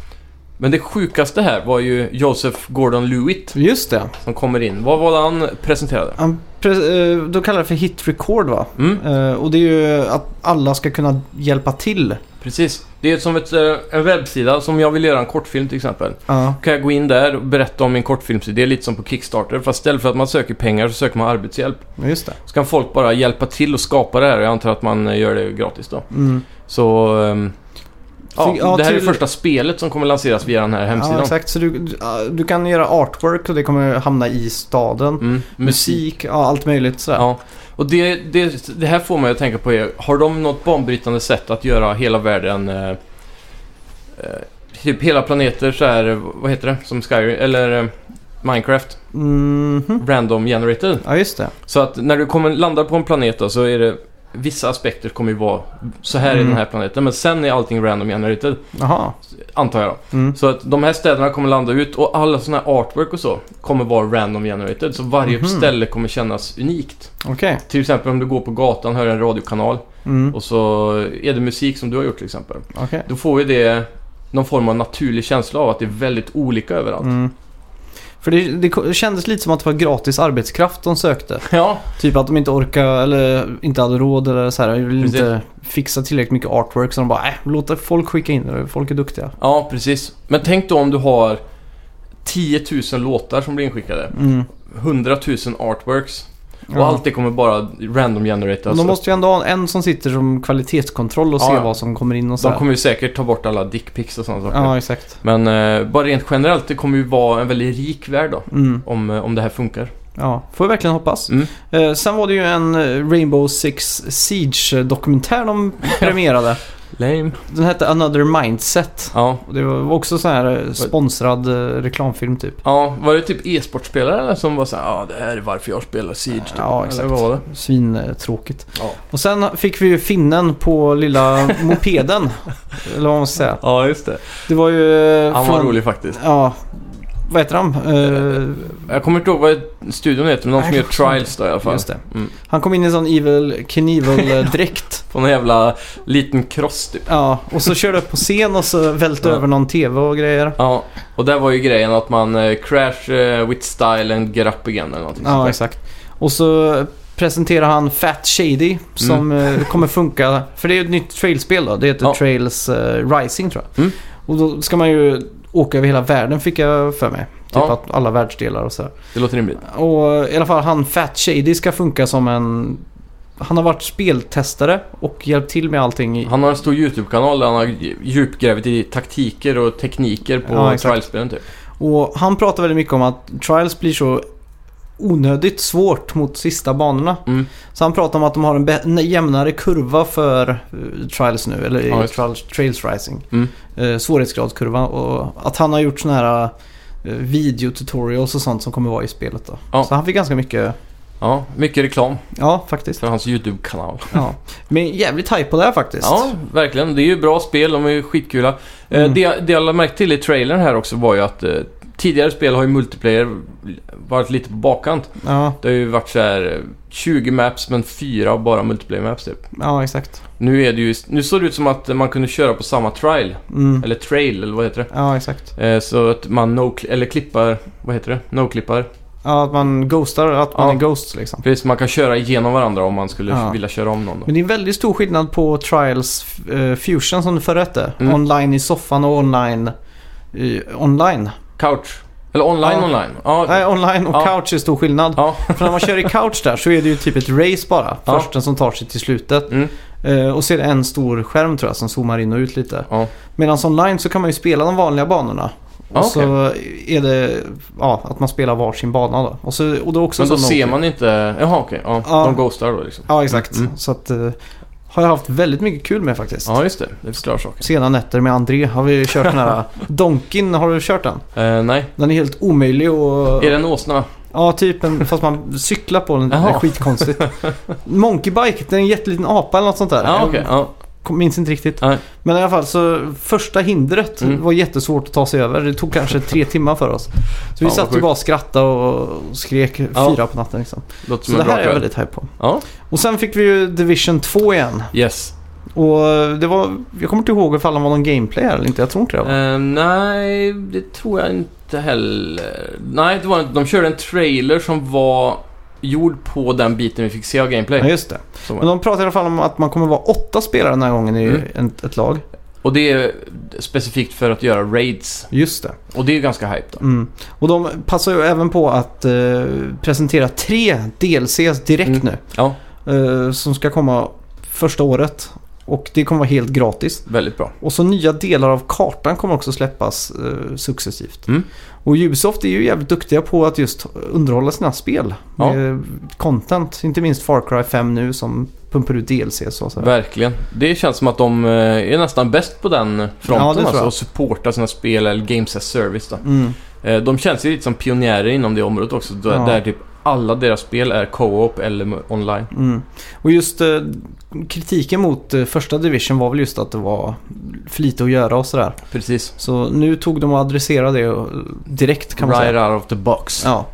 S2: Men det sjukaste här var ju Joseph Gordon-Lewitt
S1: Just det.
S2: som kommer in. Vad var det han presenterade?
S1: Han pre- eh, de kallar det för hit record va?
S2: Mm,
S1: Eh, och det är ju att alla ska kunna hjälpa till.
S2: precis. Det är som ett, eh, en webbsida som jag vill göra en kortfilm till exempel.
S1: Ja,
S2: Då kan jag gå in där och berätta om min kortfilmsidé, lite som på Kickstarter. Fast istället för att man söker pengar så söker man arbetshjälp.
S1: just det.
S2: Så kan folk bara hjälpa till och skapa det här jag antar att man eh, gör det gratis då.
S1: Mm.
S2: Så... ehm, ja,
S1: Så- ja,
S2: det här är
S1: till-
S2: första spelet som kommer lanseras via den här
S1: Ja,
S2: hemsidan.
S1: exakt. Så du, du, ja, du kan göra artwork och det kommer hamna i staden.
S2: mm, musik.
S1: Musik, ja, allt möjligt sådär.
S2: Ja. Och det, det, det här får mig att tänka på er. Har de något banbrytande sätt att göra hela världen... Eh, eh, typ hela planeter så här, vad heter det? Som Skyrim, eller eh, Minecraft.
S1: Mhm.
S2: Random generated.
S1: ja just det.
S2: Så att när du kommer, landar på en planet då, så är det... Vissa aspekter kommer ju vara så här i
S1: Mm.
S2: den här planeten. Men sen är allting random generated.
S1: Jaha.
S2: Antar jag då.
S1: Mm.
S2: Så att de här städerna kommer landa ut och alla sådana här artwork och så kommer vara random generated. Så varje
S1: Mhm.
S2: ställe kommer kännas unikt.
S1: Okej.
S2: Till exempel om du går på gatan, hör en radiokanal
S1: Mm.
S2: och så är det musik som du har gjort till exempel.
S1: Okej.
S2: Då får ju det någon form av naturlig känsla av att det är väldigt olika överallt.
S1: Mm. För det, det ko- kändes lite som att det var gratis arbetskraft de sökte.
S2: Ja,
S1: Typ att de inte orkade eller inte hade råd eller så här. Vill
S2: Precis.
S1: inte fixa tillräckligt mycket artwork så de bara äh, låt folk skicka in det. Folk är duktiga.
S2: ja precis. Men tänk då om du har 10 000 låtar som blir inskickade.
S1: Mm.
S2: 100 000 artworks. Och
S1: Ja.
S2: allt det kommer bara random generate. alltså.
S1: Men de måste ju ändå ha en som sitter som kvalitetskontroll och
S2: Ja,
S1: ser
S2: ja.
S1: vad som kommer in och så
S2: de
S1: här.
S2: kommer ju säkert ta bort alla dickpics och sådana saker.
S1: Ja, exakt.
S2: Men eh, bara rent generellt, det kommer ju vara en väldigt rik värld då.
S1: Mm.
S2: Om, eh, om det här funkar.
S1: Ja, får vi verkligen hoppas.
S2: Mm.
S1: Eh, sen var det ju en eh, Rainbow Six Siege-dokumentär de premierade.
S2: Lame.
S1: Den hette Another Mindset.
S2: Ja.
S1: Och det var också sån här eh, sponsrad eh, reklamfilm typ.
S2: Ja, var det typ e-sportspelare eller som var såhär ja ah, det här är varför jag spelar Siege typ.
S1: Ja, exakt.
S2: Eller vad var det?
S1: Svintråkigt.
S2: Ja.
S1: Och sen fick vi ju finnen på lilla mopeden. eller vad man ska säga.
S2: Ja, just det.
S1: Det var ju... eh,
S2: Han var
S1: från-
S2: rolig faktiskt.
S1: Ja. Vad heter han? Eh,
S2: Jag kommer inte ihåg vad studion heter, men de
S1: Nej,
S2: som gör
S1: jag kommer
S2: Trials då i alla fall.
S1: Just det.
S2: Mm.
S1: Han kom in i en sån Evil Knievel-dräkt.
S2: På någon jävla liten kross typ.
S1: ja, och så körde upp på scen och så välte
S2: Ja.
S1: över någon TV och grejer.
S2: Ja, och där var ju grejen att man eh, crash eh, with style and get up again eller någonting sånt
S1: Ja,
S2: där.
S1: exakt. Och så presenterar han Fat Shady som eh, kommer funka. För det är ju ett nytt trailspel då. Det heter
S2: Mm. Ja.
S1: Trails eh, Rising tror jag.
S2: Mm.
S1: Och då ska man ju åka över hela världen fick jag för mig. Typ
S2: Ja.
S1: att alla världsdelar och sådär.
S2: Det låter rimligt.
S1: Och eh, i alla fall han Fat Shady ska funka som en... Han har varit speltestare och hjälpt till med allting. I...
S2: Han har en stor YouTube-kanal där han har djupgrävt i taktiker och tekniker på
S1: Ja, exakt.
S2: Trials-spelen typ.
S1: Och han pratar väldigt mycket om att Trials blir så onödigt svårt mot sista banorna.
S2: Mm.
S1: Så han pratar om att de har en be- en jämnare kurva för eh, Trials nu, eller
S2: Ja, just det.
S1: trials, Trails Rising.
S2: Mm.
S1: Eh, svårighetsgradskurva och att han har gjort sådana här eh, videotutorials och sånt som kommer vara i spelet då.
S2: Ja.
S1: Så han fick ganska mycket,
S2: Ja, mycket reklam
S1: ja faktiskt.
S2: för hans YouTube-kanal.
S1: Ja. Men jävligt hype på det här faktiskt.
S2: Ja, verkligen. Det är ju bra spel, de är ju skitkula. Eh,
S1: Mm.
S2: Det, det jag lade märke till i trailern här också var ju att eh, tidigare spel har ju multiplayer varit lite på bakkant.
S1: ja,
S2: Det har ju varit så här eh, 20 maps men fyra bara multiplayer maps typ.
S1: ja exakt.
S2: Nu, är det ju, nu såg det ut som att man kunde köra på samma trial,
S1: Mm.
S2: eller trail eller vad heter det?
S1: Ja, exakt.
S2: Eh, Så att man no eller klippar, vad heter det? No-klippar
S1: Ja, att man ghostar, att man
S2: Ja.
S1: är ghost liksom.
S2: Precis, man kan köra igenom varandra om man skulle
S1: Ja.
S2: vilja köra om någon. Då.
S1: Men det är en väldigt stor skillnad på Trials eh, Fusion som det förra hette.
S2: Mm.
S1: Online i soffan och online. eh, online.
S2: Couch. Eller online,
S1: Ja.
S2: online. Ja,
S1: Nej, online och
S2: Ja.
S1: couch är stor skillnad.
S2: Ja.
S1: För när man kör i couch där så är det ju typ ett race bara.
S2: Ja.
S1: Först den som tar sig till slutet.
S2: Mm.
S1: Eh, och så är det en stor skärm tror jag som zoomar in och ut lite.
S2: Ja.
S1: Medan online så kan man ju spela de vanliga banorna.
S2: Ja,
S1: och så är det ja, att man spelar varsin bana då. Och, så, och då också
S2: Men då
S1: sån-
S2: ser man inte... Jaha, okej. Ja,
S1: Ja.
S2: De ghostar då liksom.
S1: Ja, exakt.
S2: Mm.
S1: Så att, eh, har jag haft väldigt mycket kul med faktiskt.
S2: Ja, just det. Det förklarar saken.
S1: Sena nätter med André har vi kört den här. Donkin, har du kört den?
S2: Eh, nej.
S1: Den är helt omöjlig och...
S2: Är det en åsna?
S1: Ja, typ en, fast man cyklar på den. Det är
S2: Jaha.
S1: skitkonstigt. Monkey Bike, den är en jätteliten apa eller något sånt där.
S2: Ja, okej. Ja.
S1: Jag minns inte riktigt.
S2: Nej.
S1: Men i alla fall så första hindret
S2: Mm.
S1: var jättesvårt att ta sig över. Det tog kanske tre timmar för oss. Så vi
S2: vad
S1: satt ju
S2: sjukt.
S1: bara och skrattade och skrek
S2: Ja.
S1: fyra på natten liksom.
S2: Låter
S1: Så
S2: som
S1: det
S2: en bra
S1: här är jag
S2: kväll.
S1: väldigt hype på.
S2: Ja.
S1: Och sen fick vi ju Division 2 igen.
S2: Yes.
S1: Och det var, jag kommer inte ihåg ifall det var någon gameplay här eller inte. Jag tror inte det. Var.
S2: Eh, nej, det tror jag inte heller. Nej, det var inte. De körde en trailer som var gjord på den biten vi fick se av gameplay.
S1: Ja, just det.
S2: Så var
S1: Men de pratar i alla fall om att man kommer vara åtta spelare den här gången i
S2: Mm.
S1: ett, ett lag.
S2: det. Och det är specifikt för att göra raids.
S1: Just det.
S2: Och det är ju ganska hype då.
S1: Mm. Och de passar ju även på att eh, presentera tre DLCs direkt
S2: Mm.
S1: nu.
S2: Ja.
S1: Eh, som ska komma första året. Och det kommer vara helt gratis.
S2: Väldigt bra.
S1: Och så nya delar av kartan kommer också släppas eh, successivt.
S2: Mm.
S1: Och Ubisoft är ju jävligt duktiga på att just underhålla sina spel
S2: Ja.
S1: med content. Inte minst Far Cry 5 nu som pumpar ut DLC så att säga.
S2: Verkligen. Det känns som att de eh, är nästan bäst på den
S1: Ja, det
S2: fronten
S1: tror
S2: alltså.
S1: jag.
S2: Och supporta sina spel eller Games as Service då.
S1: Mm.
S2: Eh, De känns ju lite som pionjärer inom det området också. Där,
S1: Ja.
S2: där typ alla deras spel är co-op eller online.
S1: Mm. Och just eh, kritiken mot eh, första Division var väl just att det var för lite att göra och sådär.
S2: Precis.
S1: Så nu tog de och adresserade det eh, direkt kan man
S2: Right
S1: säga.
S2: out of the box.
S1: Ja.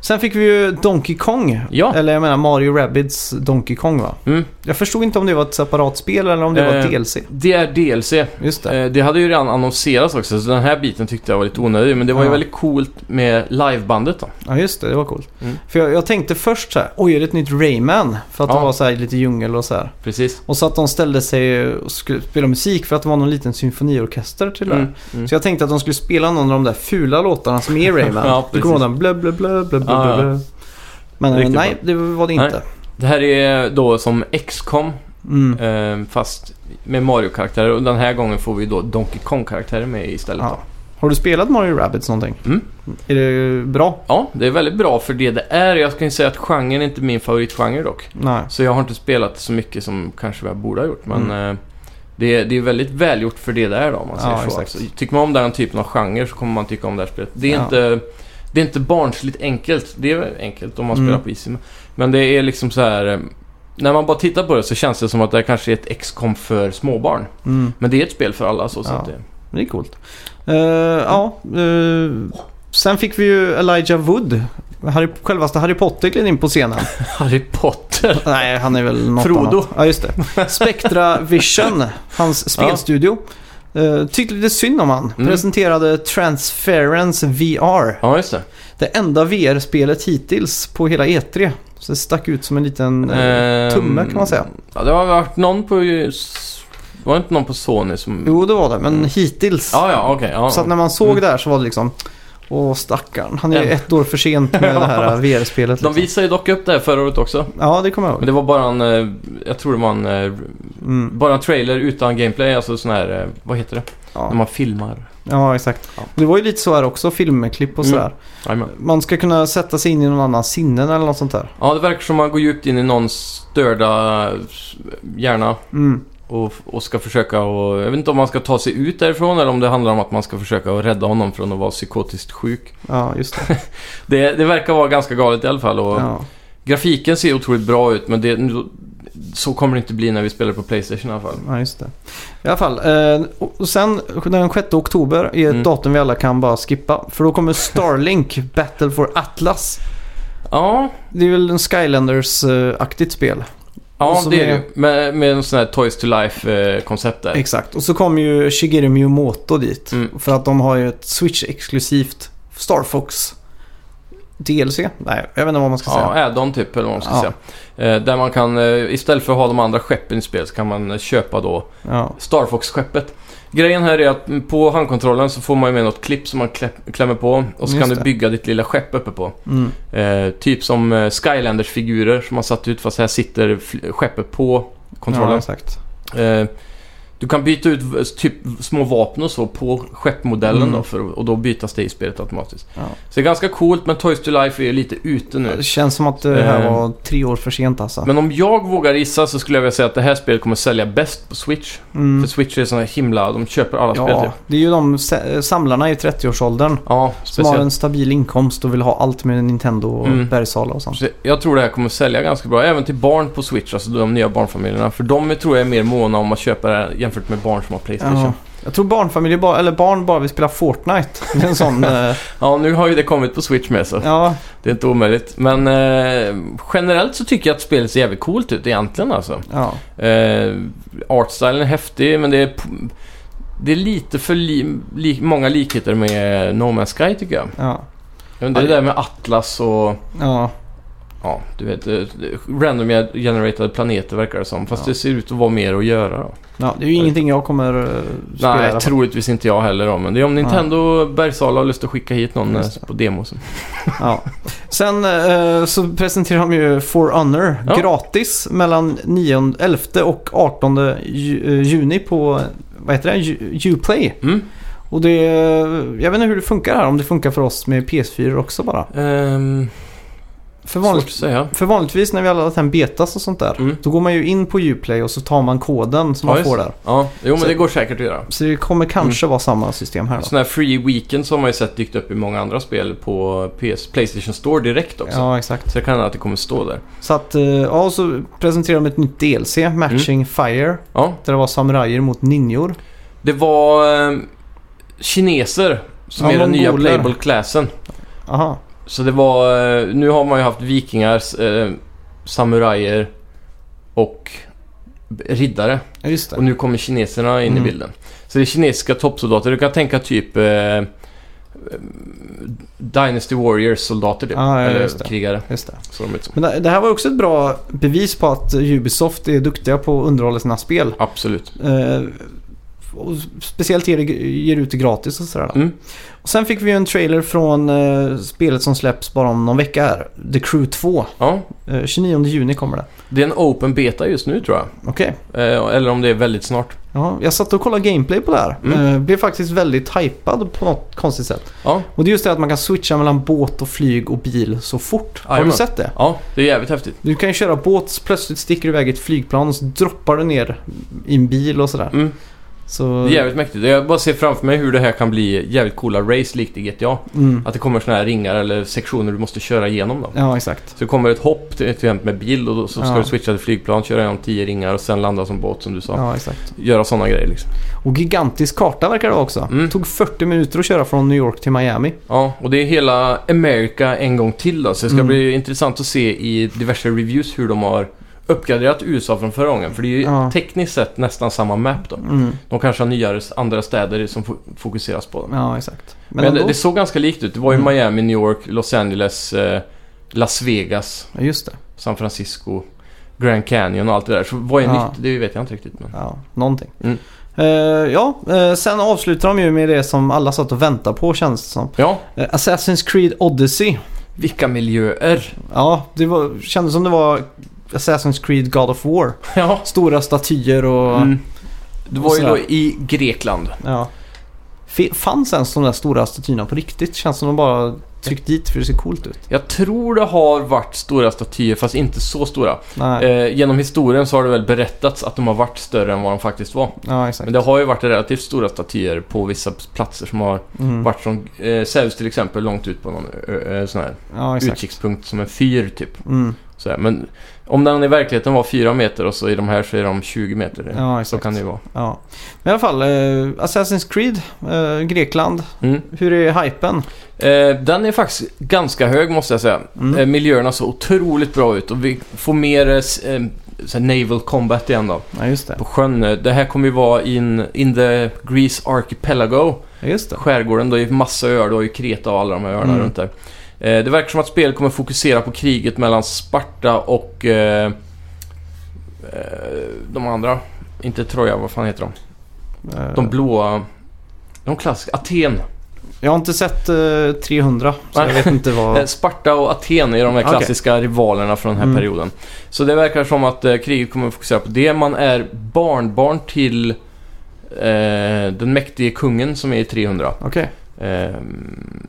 S1: Sen fick vi ju Donkey Kong.
S2: Ja.
S1: Eller jag menar Mario Rabbids Donkey Kong va?
S2: Mm.
S1: Jag förstod inte om det var ett separat spel eller om det var
S2: Eh.
S1: DLC.
S2: Det är DLC.
S1: Just det.
S2: Eh, Det hade ju redan annonserats också, så den här biten tyckte jag var lite onödig. Men det var ju
S1: Ja.
S2: väldigt coolt med livebandet då.
S1: Ja just det, det var coolt.
S2: Mm.
S1: För jag, jag tänkte först så här, oj är det ett nytt Rayman? För att det
S2: Ja.
S1: var så här lite djungel och så här.
S2: Precis.
S1: Och så att de ställde sig och skulle spela musik för att det var någon liten symfoniorkester till det.
S2: Mm. Mm.
S1: Så jag tänkte att de skulle spela någon av de där fula låtarna som är i Rayman.
S2: Ja,
S1: du kommer ihåg den? Blö, blö, blö, blö, blö,
S2: Ja, ja.
S1: blö. Men eh,
S2: Riktigt
S1: nej, det var det
S2: Nej.
S1: inte.
S2: Det här är då som XCOM
S1: Mm.
S2: eh, fast med Mario-karaktärer. Och den här gången får vi då Donkey Kong-karaktärer med istället.
S1: Ja.
S2: Då.
S1: Har du spelat Mario Rabbids någonting?
S2: Mm.
S1: Är det bra?
S2: Ja, det är väldigt bra för det det är. Jag kan ju säga att genren är inte min favoritgenre dock.
S1: Nej.
S2: Så jag har inte spelat så mycket som kanske jag borde ha gjort. Men eh, det, är, det är väldigt välgjort för det där då, om man
S1: Mm. Ja,
S2: säger så.
S1: exakt.
S2: Alltså, tycker man om den typen av genre så kommer man tycka om det här spelet. Det är,
S1: Ja.
S2: inte, det är inte barnsligt enkelt. Det är enkelt om man
S1: Mm.
S2: spelar på Easy. Men det är liksom så här... eh, När man bara tittar på det så känns det som att det här kanske är ett XCOM för småbarn.
S1: Mm.
S2: Men det är ett spel för alla så. så
S1: Ja.
S2: att det,
S1: Det är coolt. Eh, Ja, eh, sen fick vi ju Elijah Wood. Harry, självaste Harry Potter gled in på scenen.
S2: Harry Potter!
S1: Nej, han är väl något
S2: Frodo.
S1: Annat. Ja, just det. Spectra Vision, hans spelstudio. eh, tyckte lite synd om han.
S2: Mm.
S1: Presenterade Transference VR.
S2: Ja, just det.
S1: Det enda VR-spelet hittills på hela E3. Så det stack ut som en liten... eh,
S2: Ehm,
S1: tumme, kan man säga.
S2: Ja, det har varit någon på... Var det inte någon på Sony som...
S1: Jo, det var det, men hittills.
S2: Mm. Ja, ja, okej. ja, Mm.
S1: Så att när man såg det här så var det liksom... Åh, stackarn. Han är ju
S2: Ja.
S1: ett år för sent med det här VR-spelet.
S2: De
S1: Liksom.
S2: visade ju dock upp det här förra året också.
S1: Ja, det kommer jag ihåg.
S2: Men det var bara en, eh, jag tror det var en, eh,
S1: Mm.
S2: bara en trailer utan gameplay, alltså sån här, eh, vad heter det? När
S1: Ja.
S2: man filmar.
S1: ja, exakt.
S2: Ja.
S1: Det var ju lite så här också, filmklipp och
S2: Mm.
S1: sådär.
S2: Jajamän.
S1: Man ska kunna sätta sig in i någon annans sinnen eller något sånt där.
S2: Ja, det verkar som man går djupt in i någons störda eh, hjärna
S1: Mm.
S2: och, och ska försöka och, jag vet inte om man ska ta sig ut därifrån eller om det handlar om att man ska försöka att rädda honom från att vara psykotiskt sjuk.
S1: Ja, just det.
S2: Det, det verkar vara ganska galet i alla fall och
S1: Ja.
S2: grafiken ser otroligt bra ut men det, nu- så kommer det inte bli när vi spelar på Playstation i alla fall.
S1: ja, just det. I alla fall. eh, Och och sen den 6 oktober är ett
S2: Mm.
S1: datum vi alla kan bara skippa. För då kommer Starlink Battle for Atlas.
S2: Ja,
S1: Det är väl en Skylanders-aktigt spel. Och
S2: ja
S1: så
S2: det är det
S1: med-
S2: ju. Med, med en sån här Toys to Life-koncept där.
S1: Exakt. Och så kom ju Shigeru Miyamoto dit.
S2: Mm.
S1: För att de har ju ett Switch-exklusivt Star Fox DLC? Nej, jag vet inte vad man ska säga.
S2: Ja, add-on typ eller vad man ska
S1: Ja.
S2: säga. Eh, där man kan, eh, istället för att ha de andra skeppen i spel så kan man eh, köpa då
S1: Ja.
S2: Star Fox-skeppet. Grejen här är att mm, på handkontrollen så får man ju med något klipp som man klä- klämmer på och så
S1: Just
S2: kan du
S1: det.
S2: bygga ditt lilla skepp uppe på.
S1: Mm.
S2: Eh, typ som eh, Skylanders-figurer som man satt ut fast här sitter fl- skeppet på
S1: Ja,
S2: kontrollen.
S1: exakt.
S2: Eh, du kan byta ut v- typ små vapen och så på skeppmodellen
S1: Mm.
S2: då för, och då bytas det i spelet automatiskt.
S1: Ja.
S2: Så det är ganska coolt men Toys to Life är ju lite ute nu.
S1: Det känns som att det här
S2: Eh.
S1: var tre år för sent alltså.
S2: Men om jag vågar gissa så skulle jag vilja säga att det här spelet kommer sälja bäst på Switch.
S1: Mm.
S2: För Switch är sån här himla, de köper alla spel
S1: Ja,
S2: typ.
S1: det är ju de se- samlarna i 30-årsåldern.
S2: Ja,
S1: Som har
S2: speciellt.
S1: en stabil inkomst och vill ha allt med Nintendo och
S2: Mm.
S1: bergsala och sånt.
S2: Jag tror det här kommer sälja ganska bra, även till barn på Switch, alltså de nya barnfamiljerna. För de är- tror jag är mer måna om att köpa det här jämfört med barn som har Playstation.
S1: Ja.
S2: Ja,
S1: Jag tror barnfamiljer, bara, eller barn bara vill spela Fortnite. Det är en sån... eh,
S2: nu har ju det kommit på Switch med så
S1: ja,
S2: det är inte omöjligt. Men eh, generellt så tycker jag att spelet ser jävligt coolt ut egentligen alltså.
S1: ja.
S2: Eh, artstylen är häftig, men det är, p- det är lite för li, li, många likheter med No Man's Sky tycker jag.
S1: Ja.
S2: Jag vet inte, det där med Atlas och...
S1: Ja.
S2: Ja, du vet. eh, Random generated planeter verkar det som. Fast
S1: Ja.
S2: det ser ut att vara mer att göra då.
S1: ja, det är ju ingenting jag kommer eh, spela i
S2: Nej,
S1: alla fall.
S2: troligtvis inte jag heller då. Men det är om
S1: Nej.
S2: Nintendo Bergsala har lust att skicka hit någon
S1: Just
S2: eh, på demo. Så.
S1: Ja. Sen eh, så presenterar de ju For Honor
S2: Ja.
S1: gratis mellan 9, 11 och 18 ju- eh, juni på, vad heter det, Ju- Uplay.
S2: Mm.
S1: Och det, eh, jag vet inte hur det funkar här, om det funkar för oss med PS4 också bara.
S2: Ehm,
S1: För,
S2: svårt att
S1: vanligt,
S2: säga.
S1: för vanligtvis när vi har laddat hem betas och sånt där,
S2: Mm.
S1: då går man ju in på Uplay och så tar man koden som
S2: Ja,
S1: man
S2: just.
S1: får där.
S2: Ja, jo men
S1: Så-
S2: det Mm. går säkert att göra.
S1: Så det kommer kanske vara samma system här då.
S2: Sådana här free weekend som man ju sett dykt upp i många andra spel på PS, Playstation Store direkt också.
S1: Ja, exakt.
S2: Så det kan hända att det kommer stå där.
S1: Så att, eh, ja, och så presenterar de ett nytt DLC, Matching
S2: Mm.
S1: Fire.
S2: Ja,
S1: Där det var samurajer mot ninjor.
S2: det var eh, kineser som
S1: Ja,
S2: är den nya
S1: mongoler.
S2: playable-classen.
S1: Aha.
S2: Så det var... eh, Nu har man ju haft vikingar, eh, samurajer och riddare.
S1: Ja, just det.
S2: Och nu kommer kineserna in
S1: Mm.
S2: i bilden. Så det är kinesiska toppsoldater. Du kan tänka typ... Eh, Dynasty Warriors-soldater typ.
S1: Ja, ja,
S2: Eller
S1: just det.
S2: krigare.
S1: Just det.
S2: Så de ut som.
S1: Men det, det här var också ett bra bevis på att Ubisoft är duktiga på att underhålla sina spel.
S2: Absolut.
S1: Eh, och speciellt ger, det- ger ut det gratis och sådär.
S2: Mm.
S1: Och sen fick vi ju en trailer från eh, spelet som släpps bara om någon vecka här. The Crew 2.
S2: Ja.
S1: Eh, 29 juni kommer det.
S2: Det är en open beta just nu tror jag.
S1: Okej.
S2: Eh, eller om det är väldigt snart.
S1: Ja, jag satt och kollade gameplay på det här.
S2: Mm.
S1: Eh, blev faktiskt väldigt hypad på något konstigt sätt.
S2: Ja.
S1: Och det är just det att man kan switcha mellan båt och flyg och bil så fort. Har du
S2: Jajamän.
S1: sett det?
S2: Ja, det är jävligt häftigt.
S1: Du kan ju köra båt, så plötsligt sticker du iväg i ett flygplan och så droppar du ner i en bil och sådär.
S2: Mm.
S1: Så,
S2: Det är jävligt mäktigt. Jag bara ser framför mig hur det här kan bli jävligt coola race likt i GTA.
S1: mm.
S2: Att det kommer såna här ringar eller sektioner du måste köra igenom då.
S1: Ja, exakt.
S2: Så det kommer ett hopp till till exempel med bil och då, så ska
S1: Ja.
S2: du switcha till flygplan, köra igenom tio ringar och sen landa som båt som du sa.
S1: Ja, exakt.
S2: Göra sådana grejer liksom.
S1: Och gigantisk karta verkar det vara också.
S2: Mm.
S1: Tog 40 minuter att köra från New York till Miami.
S2: Ja, och det är hela America en gång till då. Så det ska
S1: Mm.
S2: bli intressant att se i diverse reviews hur de har uppgraderat USA från förra gången. För det är ju
S1: Ja.
S2: tekniskt sett nästan samma map då.
S1: Mm.
S2: De kanske har nyare andra städer som fo- fokuseras på.
S1: Ja, exakt. Men,
S2: Men, det,
S1: ändå.
S2: det såg ganska likt ut. Det var ju
S1: Mm.
S2: Miami, New York, Los Angeles, eh, Las Vegas,
S1: Ja, just det.
S2: San Francisco, Grand Canyon och allt det där. Så vad är
S1: Ja.
S2: nytt? Det vet jag inte riktigt. Men...
S1: Ja, någonting.
S2: Mm.
S1: Eh, ja, eh, sen avslutar de ju med det som alla satt och väntade på känns det som.
S2: Ja,
S1: Eh, Assassin's Creed Odyssey.
S2: vilka miljöer!
S1: Ja, det var, kändes som det var Assassin's Creed God of War.
S2: Ja.
S1: Stora statyer och...
S2: Mm. Det
S1: Och
S2: var ju
S1: sådär.
S2: då i Grekland.
S1: Ja. F- Fanns ens de där stora statyerna på riktigt? Känns som de bara tryckt dit för det ser coolt ut.
S2: Jag tror det har varit stora statyer, fast inte så stora.
S1: Nej,
S2: Eh, genom historien så har det väl berättats att de har varit större än vad de faktiskt var.
S1: ja exakt.
S2: Men det har ju varit relativt stora statyer på vissa platser som har
S1: Mm.
S2: varit som eh, Zeus till exempel, långt ut på någon ö, ö, sån här
S1: Ja, exakt.
S2: utkikspunkt som en fyr typ.
S1: Mm.
S2: Så här. Men om den i verkligheten var 4 meter och så i de här så är de 20 meter.
S1: Ja,
S2: Eh, så
S1: exakt.
S2: kan det ju vara.
S1: Ja. Men i alla fall, eh, Assassin's Creed, eh, Grekland.
S2: Mm.
S1: Hur är hypen?
S2: Eh, den är faktiskt ganska hög måste jag säga.
S1: Mm.
S2: Eh, miljöerna såg otroligt bra ut och vi får mer eh, s- eh, så här naval combat igen då.
S1: Ja, just det.
S2: På sjön. Eh, Det här kommer ju vara in, in the Greece Archipelago.
S1: Ja, just det.
S2: Skärgården, då är ju massa öar. Du har ju Kreta och alla de här öarna
S1: Mm.
S2: runt där. Eh, Det verkar som att spelet kommer fokusera på kriget mellan Sparta och eh, eh, de andra. Inte Troja, vad fan heter de?
S1: Eh,
S2: De blåa... De klassiska. Aten.
S1: Jag har inte sett eh, 300, så jag
S2: Nej.
S1: vet inte vad...
S2: Eh, Sparta och Aten är de
S1: Ah,
S2: där
S1: Okej.
S2: klassiska rivalerna från den här
S1: Mm.
S2: perioden. Så det verkar som att eh, kriget kommer att fokusera på det. Man är barnbarn till eh, den mäktige kungen som är i 300.
S1: Okej.
S2: Eh,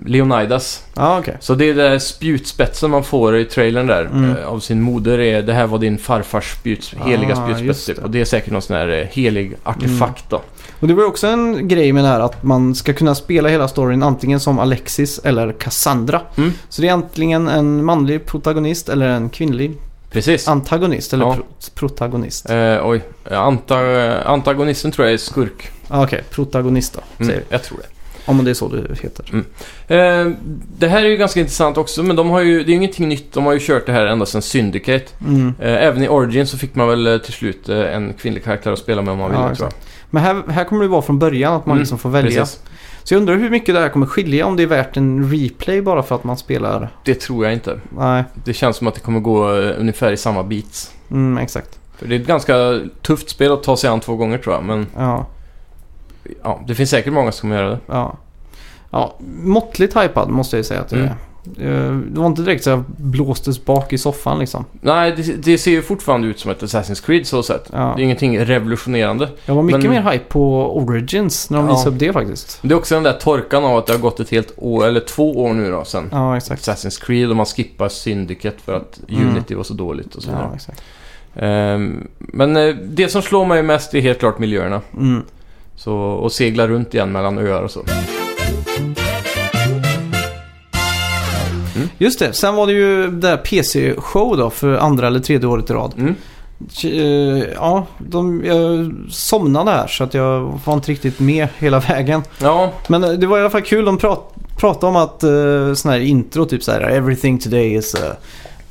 S2: Leonidas.
S1: Ja, okej.
S2: Så det är den där spjutspetsen man får i trailern där
S1: Mm.
S2: eh, av sin moder. är Det här var din farfars spjuts, heliga
S1: Ah, just
S2: spjutspets typ.
S1: det. Mm.
S2: Och det är säkert någon sån här eh, helig artefakt då.
S1: Och det var ju också en grej med det här att man ska kunna spela hela storyn antingen som Alexis eller Cassandra.
S2: Mm.
S1: Så det är antingen en manlig protagonist eller en kvinnlig
S2: Precis.
S1: antagonist eller
S2: Ja.
S1: pro protagonist.
S2: Eh, oj, Anta- eh, antagonisten tror jag är skurk.
S1: Ah, Okej, protagonist då.
S2: Mm,
S1: Säger vi.
S2: jag tror det.
S1: Om det är så du heter.
S2: Eh, det här är ju ganska intressant också, men de har ju, det är ju ingenting nytt. De har ju kört det här ända sedan Syndicate.
S1: Mm.
S2: Eh, även i Origin så fick man väl eh, till slut eh, en kvinnlig karaktär att spela med om man ville,
S1: Ja,
S2: tror jag.
S1: Men här, här kommer det vara från början att man
S2: Mm,
S1: liksom får välja.
S2: Precis.
S1: Så jag undrar hur mycket det här kommer skilja om det är värt en replay bara för att man spelar.
S2: Det tror jag inte.
S1: Nej,
S2: Det känns som att det kommer gå eh, ungefär i samma beats.
S1: mm, exakt.
S2: För det är ett ganska tufft spel att ta sig an två gånger tror jag. Men
S1: Ja,
S2: ja, det finns säkert många som kommer göra det.
S1: ja. ja måttligt hypad måste jag ju säga att det
S2: Mm.
S1: är. Eh, Det var inte direkt så jag blåstes bak i soffan liksom.
S2: Nej, det, det ser ju fortfarande ut som ett Assassin's Creed så sett.
S1: Ja.
S2: Det är ingenting revolutionerande.
S1: Jag var mycket
S2: Men-
S1: mer hype på Origins när de
S2: Ja.
S1: visade upp det faktiskt.
S2: Det är också den där torkan av att det har gått ett helt år, eller två år nu då sen.
S1: Ja, exakt.
S2: Assassin's Creed och man skippar Syndicate för att
S1: Mm.
S2: Unity var så dåligt och så vidare.
S1: Ja, exakt.
S2: Ehm, men eh, det som slår mig mest är helt klart miljöerna.
S1: Mm.
S2: Så, och segla runt igen mellan öar och så.
S1: Just det, sen var det ju det här PC-show då för andra eller tredje året i rad.
S2: Mm.
S1: Eh, Ja, de, jag somnade här så att jag var inte riktigt med hela vägen.
S2: Ja,
S1: Men eh, det var i alla fall kul. De prat, pratade om att eh, sån här intro, typ så här “Everything today is a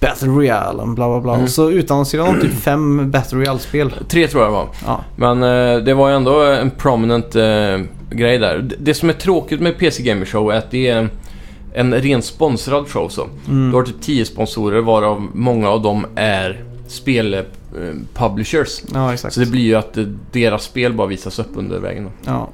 S1: battle royale” och bla bla bla.
S2: Mm.
S1: Och så utannonserade de typ fem battle royale-spel.
S2: tre tror jag det var.
S1: Ja.
S2: Men eh, det var ju ändå en prominent eh, grej där. D- Det som är tråkigt med PC Gamer Show är att det är en ren sponsrad show. Så.
S1: Mm.
S2: Du har typ 10 sponsorer varav många av dem är spelpublishers.
S1: Ja, exakt.
S2: Så det blir ju att eh, deras spel bara visas upp under vägen. då.
S1: ja.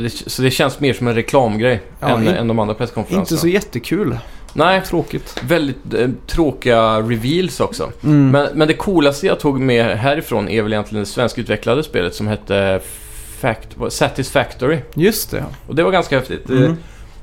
S2: Det, så det känns mer som en reklamgrej
S1: Ja,
S2: än,
S1: in-
S2: än de andra
S1: Inte
S2: presskonferenserna.
S1: så jättekul.
S2: Nej,
S1: Tråkigt.
S2: väldigt eh, tråkiga reveals också.
S1: Mm.
S2: Men, men det coolaste jag tog med härifrån är väl egentligen det svenskutvecklade spelet som hette Fact, vad- Satisfactory.
S1: Just det.
S2: Och det var ganska häftigt. Det-
S1: Mm.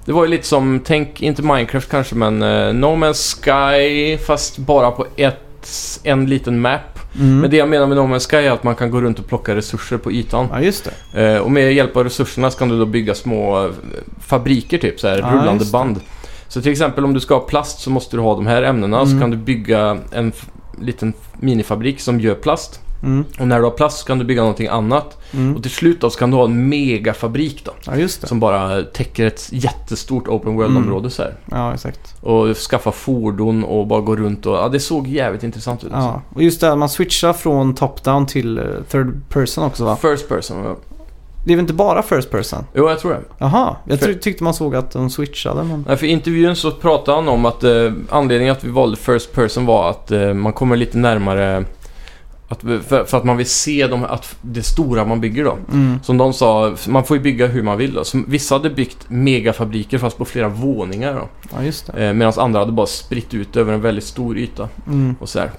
S2: Det var ju lite som, tänk inte Minecraft kanske, men eh, No Man's Sky fast bara på ett, en liten map.
S1: Mm.
S2: Men det jag menar med No Man's Sky är att man kan gå runt och plocka resurser på ytan.
S1: Ja, just det.
S2: Eh, och med hjälp av resurserna så kan du då bygga små eh, fabriker typ, så här,
S1: Ja,
S2: rullande
S1: just det.
S2: band. Så till exempel om du ska ha plast så måste du ha de här ämnena. Så
S1: Mm.
S2: kan du bygga en f- liten minifabrik som gör plast.
S1: Mm.
S2: Och när du har plast så kan du bygga någonting annat.
S1: Mm.
S2: Och till slut då så kan du ha en megafabrik då.
S1: Ja, Mm. just det.
S2: Som bara täcker ett jättestort open world-område så här.
S1: Ja, exakt.
S2: Och skaffa fordon och bara gå runt och... Ja, det såg jävligt intressant ut.
S1: Ja. Och just det här, man switchar från top-down till eh, third person också va?
S2: alltså. First person. ja.
S1: Det är väl inte bara first person?
S2: Jo, jag tror det.
S1: Jaha, jag
S2: För-
S1: try- tyckte man såg att de switchade men...
S2: Nej, för i intervjun så pratade han om att eh, anledningen att vi valde first person var att eh, man kommer lite närmare... Att, för, för att man vill se de, att det stora man bygger då.
S1: Mm.
S2: Som de sa, man får ju bygga hur man vill då. Så vissa hade byggt megafabriker fast på flera våningar då.
S1: Ja, just det.
S2: Eh, Medan andra hade bara spritt ut över en väldigt stor yta
S1: Mm.
S2: och så här.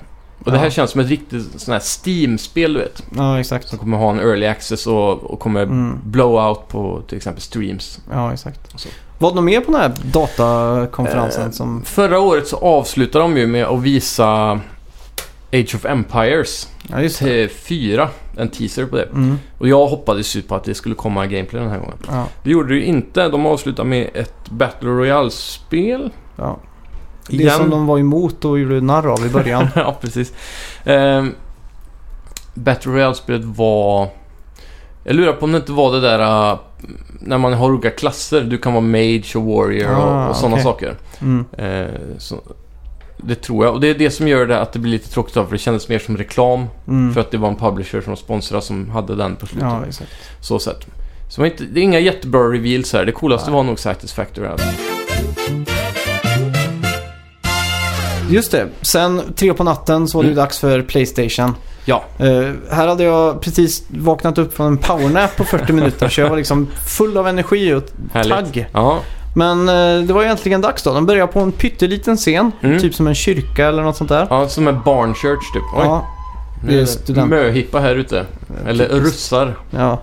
S2: Och det här
S1: Ja.
S2: känns som ett riktigt sån här Steam-spel du vet.
S1: Ja, exakt.
S2: Som kommer ha en early access och, och kommer
S1: Mm.
S2: blow out på till exempel streams.
S1: Ja, exakt.
S2: Så.
S1: Var de med på den här datakonferensen
S2: Eh,
S1: som...
S2: Förra året så avslutade de ju med att visa Age of Empires
S1: Ja, just det.
S2: 4, en teaser på det.
S1: Mm.
S2: Och jag hoppades ju på att det skulle komma gameplay den här gången.
S1: Ja,
S2: Det gjorde det ju inte. De avslutade med ett Battle Royale-spel.
S1: ja. Det
S2: Igen.
S1: som de var emot och gjorde narr av i början.
S2: ja, precis. Ehm, Battle Royale-spelet var... Jag lurar på om det inte var det där äh, när man har olika klasser. Du kan vara Mage och Warrior
S1: Ah,
S2: och, och sådana
S1: okej.
S2: saker.
S1: Mm.
S2: Ehm, så, det tror jag. Och det är det som gör det att det blir lite tråkigt av, för det kändes mer som reklam.
S1: Mm.
S2: För att det var en publisher som sponsrade som hade den på slutet.
S1: Ja, exakt.
S2: Så sett. Så det är inte, det är inga jättebra reveals här. Det coolaste
S1: Nej.
S2: var nog Satisfactory. Alltså.
S1: Just det. Sen tre på natten så var det ju dags för Playstation.
S2: Ja.
S1: Eh, här hade jag precis vaknat upp från en powernap på 40 minuter så jag var liksom full av energi och
S2: Härligt.
S1: tagg.
S2: Ja.
S1: Men eh, det var ju äntligen dags då. De började på en pytteliten scen.
S2: Mm.
S1: Typ som en kyrka eller något sånt där.
S2: ja, som en barn church typ. Oj,
S1: Ja,
S2: nu är
S1: det är
S2: det
S1: student-
S2: Möhippa här ute. Eller russar.
S1: ja.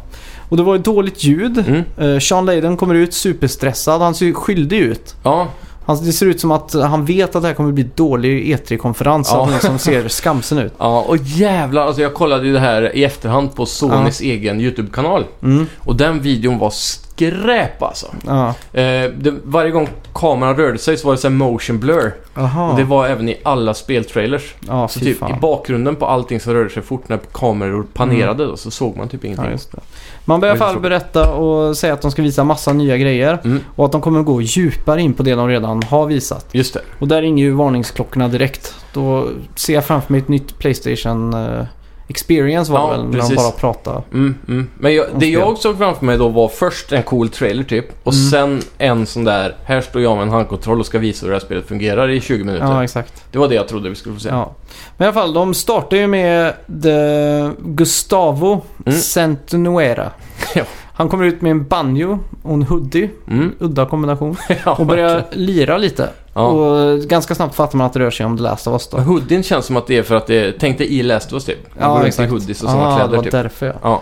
S1: Och det var ju dåligt ljud.
S2: Mm.
S1: Eh, Sean Layden kommer ut superstressad. Han ser ju skyldig ut.
S2: Ja,
S1: Han, det ser ut som att han vet att det här kommer bli dålig E3-konferens.
S2: Ja.
S1: Av någon som ser skamsen ut.
S2: ja, och jävlar. Alltså jag kollade ju det här i efterhand på Sonys egen YouTube-kanal.
S1: Mm.
S2: Och den videon var skräp alltså.
S1: Ja.
S2: Eh, det, varje gång kameran rörde sig så var det så här motion blur.
S1: Aha.
S2: Och det var även i alla speltrailers.
S1: ja,
S2: Så
S1: Ah. fy
S2: typ
S1: fan.
S2: i bakgrunden på allting så rörde sig fort när kameror panerade
S1: Mm.
S2: då, så såg man typ
S1: Ja,
S2: ingenting.
S1: just det. Man börjar i alla fall berätta och säga att de ska visa massa nya grejer.
S2: Mm.
S1: Och att de kommer gå djupare in på det de redan har visat.
S2: Just det.
S1: Och där ringer ju varningsklockorna direkt. Då ser jag framför mig ett nytt Playstation eh, Experience var
S2: Ja,
S1: det väl, när de
S2: precis.
S1: bara pratar.
S2: Mm, mm. Men jag, det
S1: spel.
S2: jag såg framför mig då var först en cool trailer typ och
S1: Mm.
S2: sen en sån där “Här står jag med en handkontroll och ska visa hur det här spelet fungerar i 20 minuter”.
S1: Ja, exakt.
S2: Det var det jag trodde vi skulle få se.
S1: Ja. Men i alla fall, de startar ju med The Gustavo
S2: Mm.
S1: Centonuera.
S2: Ja.
S1: Han kommer ut med en banjo och en hoodie.
S2: Mm.
S1: Udda kombination.
S2: ja,
S1: Och börjar lira lite.
S2: ja.
S1: Och ganska snabbt fattar man att det rör sig om The Last of Us då.
S2: Och hoodien känns som att det är för att det... Tänk dig i Last of Us typ. Man går runt i hoodies och sådana
S1: ah, det
S2: kläder
S1: var
S2: typ.
S1: därför ja.
S2: Ja.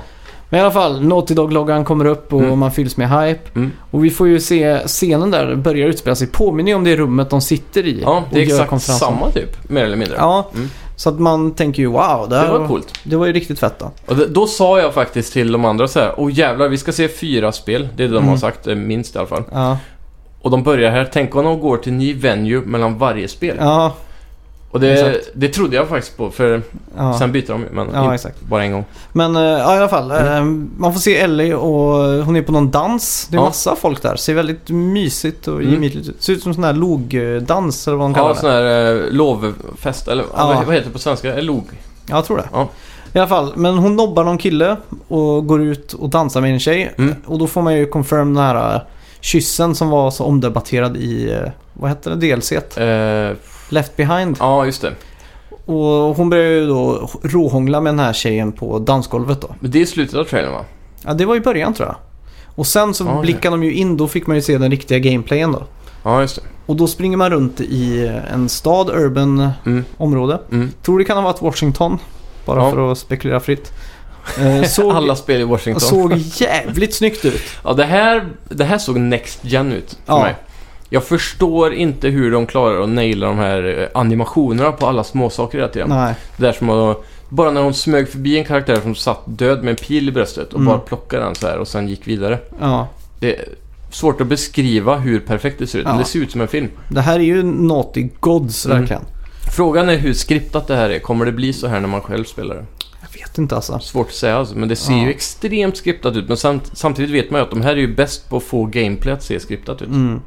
S1: Men i alla fall, Naughty Dog-loggan kommer upp och
S2: Mm.
S1: man fylls med hype.
S2: Mm.
S1: Och vi får ju se scenen där börjar utspela sig. Påminner ju om det rummet de sitter i.
S2: ja, det
S1: och
S2: är
S1: gör
S2: exakt
S1: konferensen.
S2: samma typ, mer eller mindre.
S1: Typ. Ja,
S2: Mm.
S1: så att man tänker ju wow, det, här
S2: Det var coolt.
S1: det var ju riktigt fett då.
S2: Och det, då sa jag faktiskt till de andra så här, åh jävlar, vi ska se fyra spel. Det är det de
S1: Mm.
S2: har sagt, eh, minst i alla fall.
S1: Ja,
S2: Och de börjar här, tänk om de går till ny venue mellan varje spel.
S1: ja,
S2: och det,
S1: exakt.
S2: det trodde jag faktiskt på, för
S1: ja.
S2: sen byter de ju, men
S1: ja
S2: inte
S1: exakt.
S2: bara en gång.
S1: Men eh, ja, i alla fall,
S2: Mm.
S1: eh, man får se Ellie och hon är på någon dans. Det är
S2: Ja.
S1: massa folk där. Ser väldigt mysigt och
S2: Mm.
S1: gemytligt ut. Ser ut som sån här logdans eller vad de kallar
S2: Ja,
S1: det.
S2: sån här eh, lovfest, eller
S1: Ja.
S2: vad- vad heter det på svenska? Eh, Log?
S1: Ja, Jag tror det.
S2: Ja.
S1: I alla fall, men hon nobbar någon kille och går ut och dansar med en tjej.
S2: Mm.
S1: Och då får man ju confirm den här eh, kyssen som var så omdebatterad i, eh, vad hette det, DLCt?
S2: Eh,
S1: Left Behind.
S2: ja, just det.
S1: Och hon börjar ju då råhångla med den här tjejen på dansgolvet då.
S2: Men det är slutet av trailern va?
S1: Ja, det var i början tror jag. Och sen så
S2: Ja, ja.
S1: blickar de ju in, då fick man ju se den riktiga gameplayen då.
S2: Ja, just det.
S1: Och då springer man runt i en stad, urban
S2: Mm,
S1: område.
S2: mm.
S1: Tror det kan ha varit Washington, bara
S2: Ja.
S1: för att spekulera fritt. Eh, Såg,
S2: Alla spel i Washington.
S1: såg jävligt snyggt ut.
S2: Ja, det här, det här såg Next Gen ut för
S1: Ja.
S2: mig. Jag förstår inte hur de klarar att naila de här eh, animationerna på alla småsaker hela tiden.
S1: Nej.
S2: Det där som att, bara när hon smög förbi en karaktär som satt död med en pil i bröstet och
S1: Mm.
S2: bara plockade den så här och sen gick vidare.
S1: Ja.
S2: Det är svårt att beskriva hur perfekt det ser ut,
S1: Ja.
S2: men det ser ut som en film.
S1: Det här är ju Naughty Gods
S2: Mm.
S1: verkligen.
S2: Frågan är hur skriptat det här är. Kommer det bli så här när man själv spelar det?
S1: Jag vet inte alltså.
S2: Svårt att säga alltså, men det ser
S1: Ja.
S2: ju extremt skriptat ut. Men samt, samtidigt vet man ju att de här är ju bäst på att få gameplay att se skriptat ut.
S1: Mm.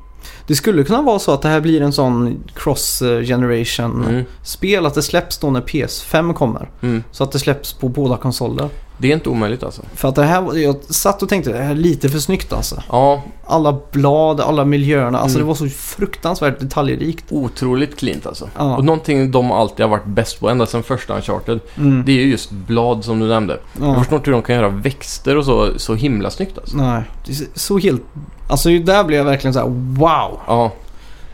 S1: Det skulle kunna vara så att det här blir en sån cross generation
S2: Mm.
S1: spel. Att det släpps då när PS5 kommer.
S2: Mm.
S1: Så att det släpps på båda konsoler.
S2: Det är inte omöjligt alltså.
S1: För att det här, var- jag satt och tänkte det här är lite för snyggt alltså.
S2: Ja,
S1: Alla blad, alla miljöerna. Alltså
S2: Mm.
S1: det var så fruktansvärt detaljrikt.
S2: otroligt klint alltså.
S1: Ja.
S2: Och någonting de alltid har varit bäst på, ända sedan första Uncharted,
S1: Mm.
S2: det är ju just blad som du nämnde. Jag
S1: ja.
S2: förstår inte hur de kan göra växter och så, så himla snyggt alltså.
S1: Nej, det är så helt... Alltså där blev jag verkligen så här: wow.
S2: Ja.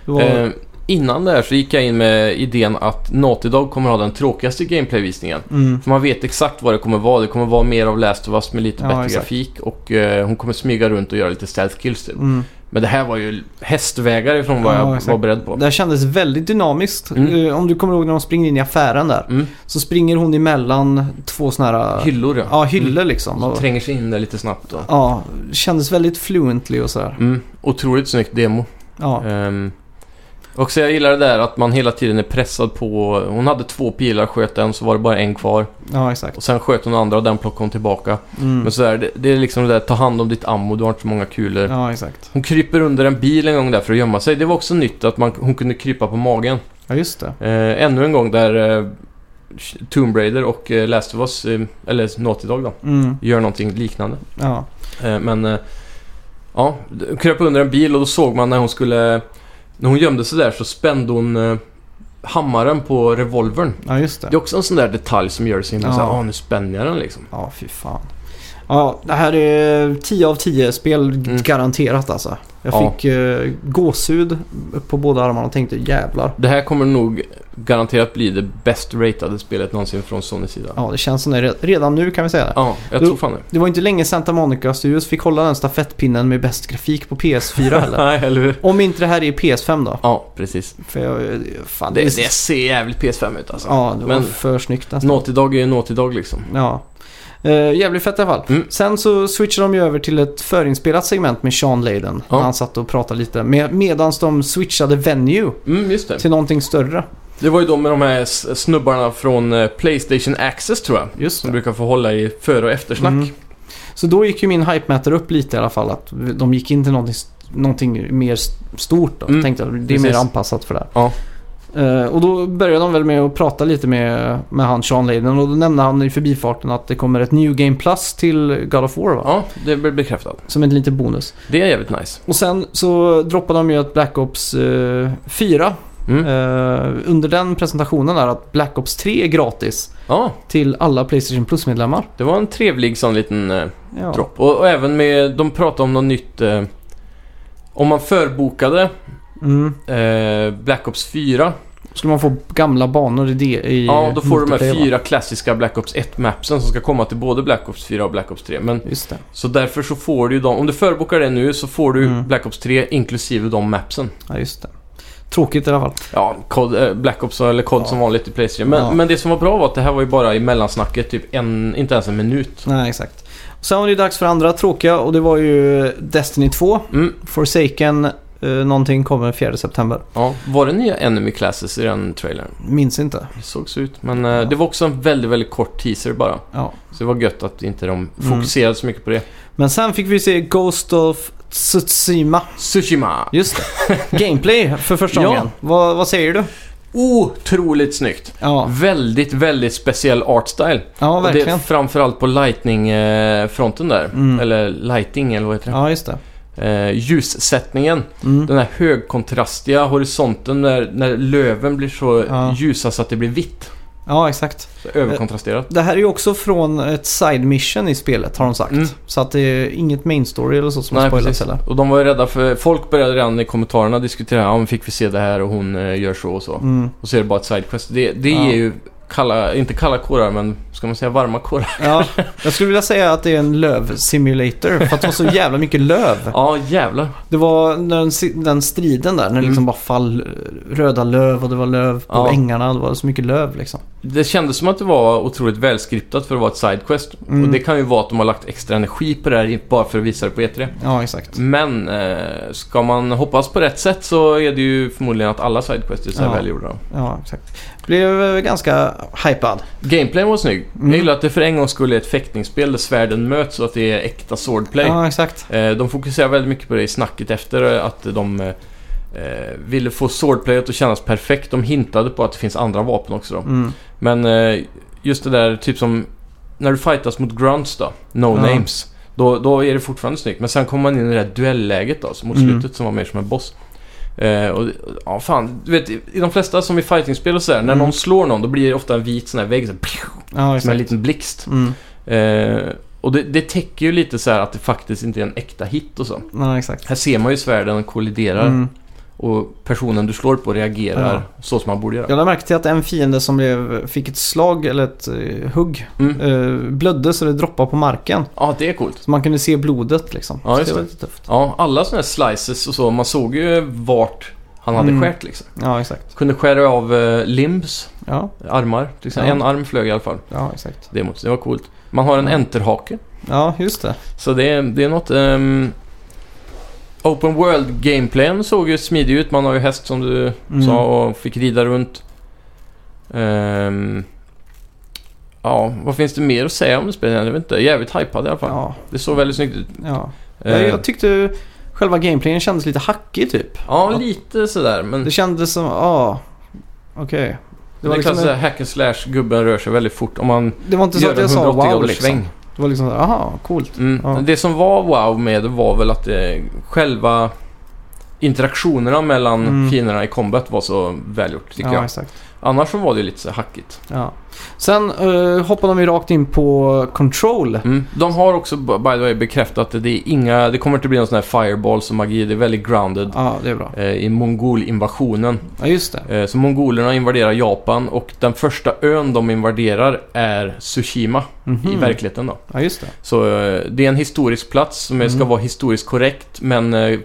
S1: Det var...
S2: Eh, innan det här så gick jag in med idén att Naughty Dog kommer ha den tråkigaste gameplayvisningen.
S1: mm.
S2: För man vet exakt vad det kommer vara. Det kommer vara mer av Last of Us med lite
S1: Ja,
S2: bättre
S1: exakt.
S2: grafik och eh, hon kommer smyga runt och göra lite stealth kills typ.
S1: Mm.
S2: Men det här var ju hästvägar ifrån vad
S1: Ja,
S2: jag
S1: exakt.
S2: var beredd på.
S1: Det här kändes väldigt dynamiskt.
S2: Mm.
S1: Eh, Om du kommer ihåg när de springer in i affären där.
S2: Mm.
S1: Så springer hon emellan två sådana här...
S2: Hyllor ja.
S1: ja, hyllor liksom.
S2: Som
S1: Och,
S2: tränger sig in där lite snabbt. Och...
S1: ja, kändes väldigt fluently och sådär.
S2: Mm. Otroligt snyggt demo.
S1: Ja,
S2: Ehm, också jag gillar det där att man hela tiden är pressad på... Hon hade två pilar, sköt en så var det bara en kvar.
S1: ja exakt.
S2: Och sen sköt hon andra och den plockade hon tillbaka.
S1: Mm.
S2: Men så här, det, det är liksom det där, ta hand om ditt ammo, du har inte så många kulor.
S1: Ja, exakt.
S2: Hon kryper under en bil en gång där för att gömma sig. Det var också nytt att man, hon kunde krypa på magen.
S1: Ja, just det.
S2: Eh, ännu en gång där eh, Tomb Raider och eh, Last of Us, eh, eller Naughty Dog då,
S1: Mm.
S2: gör någonting liknande.
S1: Ja.
S2: Eh, men eh, ja, d- hon kröp under en bil och då såg man när hon skulle... När hon gömde sig där så spände hon eh, hammaren på revolvern.
S1: Ja, just det.
S2: Det är också en sån där detalj som gör det så himla
S1: Ja.
S2: så här, ah, nu spänner jag den liksom.
S1: Ja, fy fan. Ja, det här är 10 av 10 spel
S2: Mm.
S1: garanterat alltså. Jag
S2: Ja.
S1: fick eh, gåshud på båda armarna och tänkte jävlar.
S2: Det här kommer nog garanterat bli det bäst ratade spelet någonsin från Sonys sida. Ja,
S1: Ja, det känns som det re- redan nu kan vi säga det.
S2: jag
S1: Jo.
S2: tror fan det.
S1: Det var inte länge Santa Monica Studios fick hålla den stafettpinnen med bäst grafik på PS4 heller.
S2: Nej, eller hur?
S1: Om inte det här är PS5 då.
S2: Ja, precis.
S1: För jag, eh, fan,
S2: Det, det ser jävligt PS5 ut alltså.
S1: Ja, det var
S2: Men-
S1: för snyggt nästan.
S2: Naughty Dog är ju Naughty Dog liksom.
S1: Ja. Eh, jävligt fett i alla fall.
S2: Mm.
S1: Sen så switchar de ju över till ett förinspelat segment med Sean Layden.
S2: Ja.
S1: När han satt och pratade lite. Med, medans de switchade venue
S2: Mm, just det.
S1: till någonting större.
S2: Det var ju de med de här s- snubbarna från eh, Playstation Access tror jag.
S1: Just
S2: Som brukar få hålla i före och eftersnack.
S1: Mm. Så då gick ju min hype matter upp lite i alla fall. Att de gick in till någonting, någonting mer stort då.
S2: Mm.
S1: Tänkte att det är
S2: Precis.
S1: mer anpassat för det här.
S2: Ja.
S1: Eh, och då började de väl med att prata lite med, med han Sean Layden. Och då nämnde han i förbifarten att det kommer ett New Game Plus till God of War va?
S2: Ja, det blev bekräftat.
S1: Som en liten bonus.
S2: Det är jävligt nice.
S1: Och sen så droppade de ju att Black Ops eh, 4,
S2: Mm.
S1: eh, under den presentationen där att Black Ops 3 är gratis
S2: Ja,
S1: till alla Playstation Plus-medlemmar.
S2: det var en trevlig sån liten eh,
S1: Ja.
S2: dropp. Och, och även med, de pratade om något nytt. Eh, om man förbokade
S1: Mm.
S2: eh, Black Ops 4.
S1: Skulle man få gamla banor i det i
S2: Ja, då får du de här
S1: multiplayer, va?
S2: fyra klassiska Black Ops 1-mapsen som ska komma till både Black Ops 4 och Black Ops 3. Men
S1: Just det.
S2: Så därför så får du ju dem, om du förbokar det nu så får du
S1: Mm.
S2: Black Ops 3 inklusive de mapsen.
S1: Ja, just det. Tråkigt i alla fall.
S2: Ja, COD, eh, Black Ops eller COD
S1: Ja.
S2: som vanligt i Playstation. Men,
S1: Ja.
S2: men det som var bra var att det här var ju bara i mellansnacket, typ en, inte ens en minut.
S1: Nej, exakt. Och sen var det ju dags för andra tråkiga och det var ju Destiny 2.
S2: Mm,
S1: Forsaken eh, någonting kommer 4 september.
S2: ja. Var det nya Enemy Classes i den trailern?
S1: Minns inte.
S2: Det såg så ut. Men eh,
S1: Ja.
S2: det var också en väldigt, väldigt kort teaser bara.
S1: Ja.
S2: Så det var gött att inte de
S1: Mm.
S2: fokuserade så mycket på det.
S1: Men sen fick vi se Ghost of Tsushima.
S2: Tsushima!
S1: Just det. Gameplay för första
S2: Ja.
S1: gången. Vad, vad säger du?
S2: Otroligt snyggt!
S1: Ja,
S2: Väldigt, väldigt speciell art style.
S1: ja
S2: Och det är
S1: verkligen.
S2: framförallt på lightning-fronten där.
S1: Mm.
S2: Eller lighting eller vad heter det?
S1: Ja, just det.
S2: Eh, ljussättningen.
S1: Mm.
S2: Den här högkontrastiga horisonten där, när löven blir så
S1: Ja.
S2: ljusa så att det blir vitt.
S1: Ja, exakt.
S2: Så överkontrasterat.
S1: Det här är ju också från ett side mission i spelet har de sagt.
S2: Mm.
S1: Så att det är inget main story eller så som har spoilats heller.
S2: Och de var ju rädda för... Folk började redan i kommentarerna diskutera, ja men fick vi se det här och hon eh, gör så och så.
S1: Mm.
S2: Och så är det bara ett sidequest. Det, det
S1: Ja.
S2: ger ju kalla, inte kalla kårar men ska man säga varma kårar?
S1: Ja, jag skulle vilja säga att det är en lövsimulator för att det var så jävla mycket löv.
S2: Ja jävlar.
S1: Det var den, si- den striden där när det
S2: Mm.
S1: liksom bara fall röda löv och det var löv på
S2: Ja.
S1: ängarna. Det var så mycket löv liksom.
S2: Det kändes som att det var otroligt välskriptat för att vara ett sidequest.
S1: Mm.
S2: Och det kan ju vara att de har lagt extra energi på det här bara för att visa det på E E3.
S1: Ja, exakt.
S2: Men eh, ska man hoppas på rätt sätt så är det ju förmodligen att alla sidequests är så här
S1: Ja.
S2: välgjorda.
S1: Ja, exakt. Blev eh, ganska hypad.
S2: Gameplayen var snygg.
S1: Mm.
S2: Jag gillar att det för en gång skulle är ett fäktningsspel där svärden möts och att det är äkta swordplay.
S1: Ja, exakt.
S2: Eh, de fokuserar väldigt mycket på det i snacket efter eh, att de eh, ville få swordplayet att kännas perfekt. De hintade på att det finns andra vapen också då.
S1: Mm.
S2: Men eh, just det där typ som när du fightas mot grunts då, no
S1: Ja.
S2: names. Då, då är det fortfarande snyggt. Men sen kommer man in i det där duelläget då, som mot
S1: Mm.
S2: slutet som var mer som en boss. Eh, och, ja, fan. Du vet, i i de flesta som i fightingspel och sådär, när
S1: Mm.
S2: någon slår någon då blir det ofta en vit sån här vägg så här, pju,
S1: Ja,
S2: som en
S1: exakt.
S2: liten blixt.
S1: Mm.
S2: Eh, och det, det täcker ju lite så här att det faktiskt inte är en äkta hit och så.
S1: Ja, exakt.
S2: Här ser man ju svärden kolliderar
S1: Mm.
S2: och personen du slår på reagerar så som man borde göra.
S1: Jag lade märke till att en fiende som blev, fick ett slag eller ett eh, hugg
S2: Mm.
S1: eh, blödde så det droppade på marken.
S2: Ja, det är coolt.
S1: Så man kunde se blodet liksom.
S2: Ja,
S1: Så
S2: just
S1: det. var
S2: det.
S1: lite tufft.
S2: Ja, alla sådana här slices och så. Man såg ju vart han hade
S1: Mm.
S2: skärt liksom.
S1: Ja, exakt.
S2: Kunde skära av eh, limbs,
S1: Ja,
S2: armar. Till exempel.
S1: Ja.
S2: En arm flög i alla fall.
S1: ja, exakt.
S2: Det, måste- det var coolt. Man har en
S1: Ja.
S2: enterhake.
S1: Ja, just det.
S2: Så det, är- det är något... ehm, open world gameplayen såg ju smidig ut. Man har ju häst som du
S1: Mm.
S2: sa och fick rida runt. Ehm, ja, vad finns det mer att säga om det spelet? Jag vet inte. Jävligt hypad i alla fall.
S1: Ja,
S2: Det såg väldigt snyggt ut.
S1: ja.
S2: Eh,
S1: Jag, jag tyckte själva gameplayen kändes lite hackig typ.
S2: ja, lite sådär. Men...
S1: Det kändes som, ja, okej. Det, var
S2: Det, var
S1: liksom,
S2: kan säga hack and slash, gubben rör sig väldigt fort. Om man
S1: det var inte så
S2: gör
S1: att
S2: en
S1: jag sa
S2: 180
S1: wow
S2: graders
S1: liksom.
S2: sväng.
S1: Det var liksom, så här, aha, coolt.
S2: Mm.
S1: Ja.
S2: Det som var wow med det var väl att det, eh, själva interaktionerna mellan
S1: Mm.
S2: fienderna i combat var så välgjort tycker
S1: ja,
S2: jag.
S1: exakt.
S2: Annars så var det ju lite så här hackigt.
S1: Ja. Sen eh, hoppar de ju rakt in på Control.
S2: Mm. De har också b- by the way bekräftat att det, är inga, det kommer inte bli någon sån här fireballs och magi. Det är väldigt grounded
S1: Ja, det är bra.
S2: eh, i mongolinvasionen.
S1: Ja, just det.
S2: Eh, så mongolerna invaderar Japan och den första ön de invaderar är Tsushima
S1: Mhm.
S2: i verkligheten då.
S1: Ja, just det.
S2: Så eh, det är en historisk plats som är- ska
S1: Mm.
S2: vara historiskt korrekt men eh,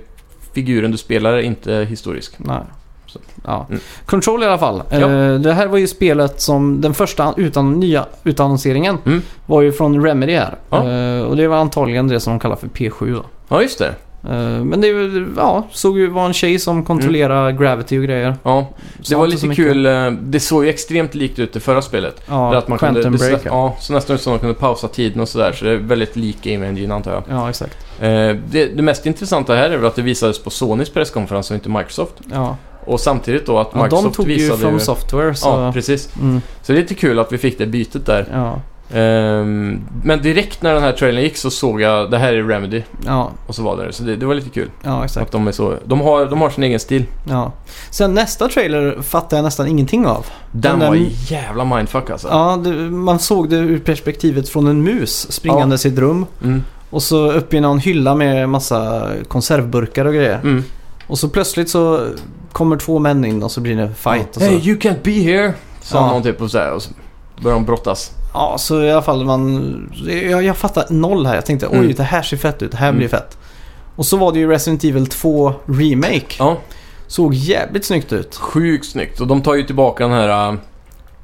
S2: figuren du spelar är inte historisk.
S1: Nej.
S2: Så.
S1: Ja.
S2: Mm.
S1: Control i alla fall.
S2: Ja.
S1: Eh, det här var ju spelet som den första utan nya utannonseringen
S2: Mm.
S1: var ju från Remedy här.
S2: Ja.
S1: Eh, och det var antagligen det som de kallar för P7 då.
S2: Ja, just det.
S1: Eh, men det är ju- ja, såg ju var en tjej som kontrollerar gravity och grejer.
S2: Ja, Mm. det
S1: Sa
S2: var
S1: inte så
S2: lite
S1: mycket.
S2: kul. eh, Det såg ju extremt likt ut det förra spelet.
S1: Ja,
S2: Där att man kunde,
S1: Quantum
S2: det,
S1: Break.
S2: så, ja, så nästan ut som att de kunde pausa tiden och sådär. Så det är väldigt lik Game Engine antar jag.
S1: ja, exakt.
S2: Eh, det, det mest intressanta här är väl att det visades på Sonys presskonferens och inte Microsoft.
S1: Ja.
S2: Och samtidigt då att
S1: Ja,
S2: Microsoft
S1: de tog ju
S2: visade
S1: From Software så...
S2: Ja, precis.
S1: mm,
S2: Så det är lite kul att vi fick det bytet där.
S1: ja,
S2: Ehm, men direkt när den här trailern gick så såg jag det här är Remedy
S1: ja,
S2: och så var det det. Så det, det var lite kul.
S1: ja,
S2: Att
S1: exakt.
S2: de, är så, de, har, de har sin egen stil.
S1: Ja. Sen nästa trailer fattar jag nästan ingenting av.
S2: Den,
S1: Den-
S2: var en jävla mindfuck alltså.
S1: Ja, det, man såg det ur perspektivet från en mus springandes i ett rum.
S2: Mm,
S1: Och så upp i någon hylla med massa konservburkar och grejer.
S2: mm.
S1: Och så plötsligt så kommer två män in och så blir det fight. Och så.
S2: Hey you can't be here! Sa
S1: Ja.
S2: någon typ och så, här, och så började de brottas.
S1: Ja, så i alla fall man... Jag, jag fattar noll här. Jag tänkte
S2: Mm.
S1: oj, det här ser fett ut. Det här
S2: Mm.
S1: blir fett. Och så var det ju Resident Evil 2 Remake.
S2: Ja,
S1: Såg jävligt snyggt ut.
S2: sjukt snyggt. Och de tar ju tillbaka den här äh,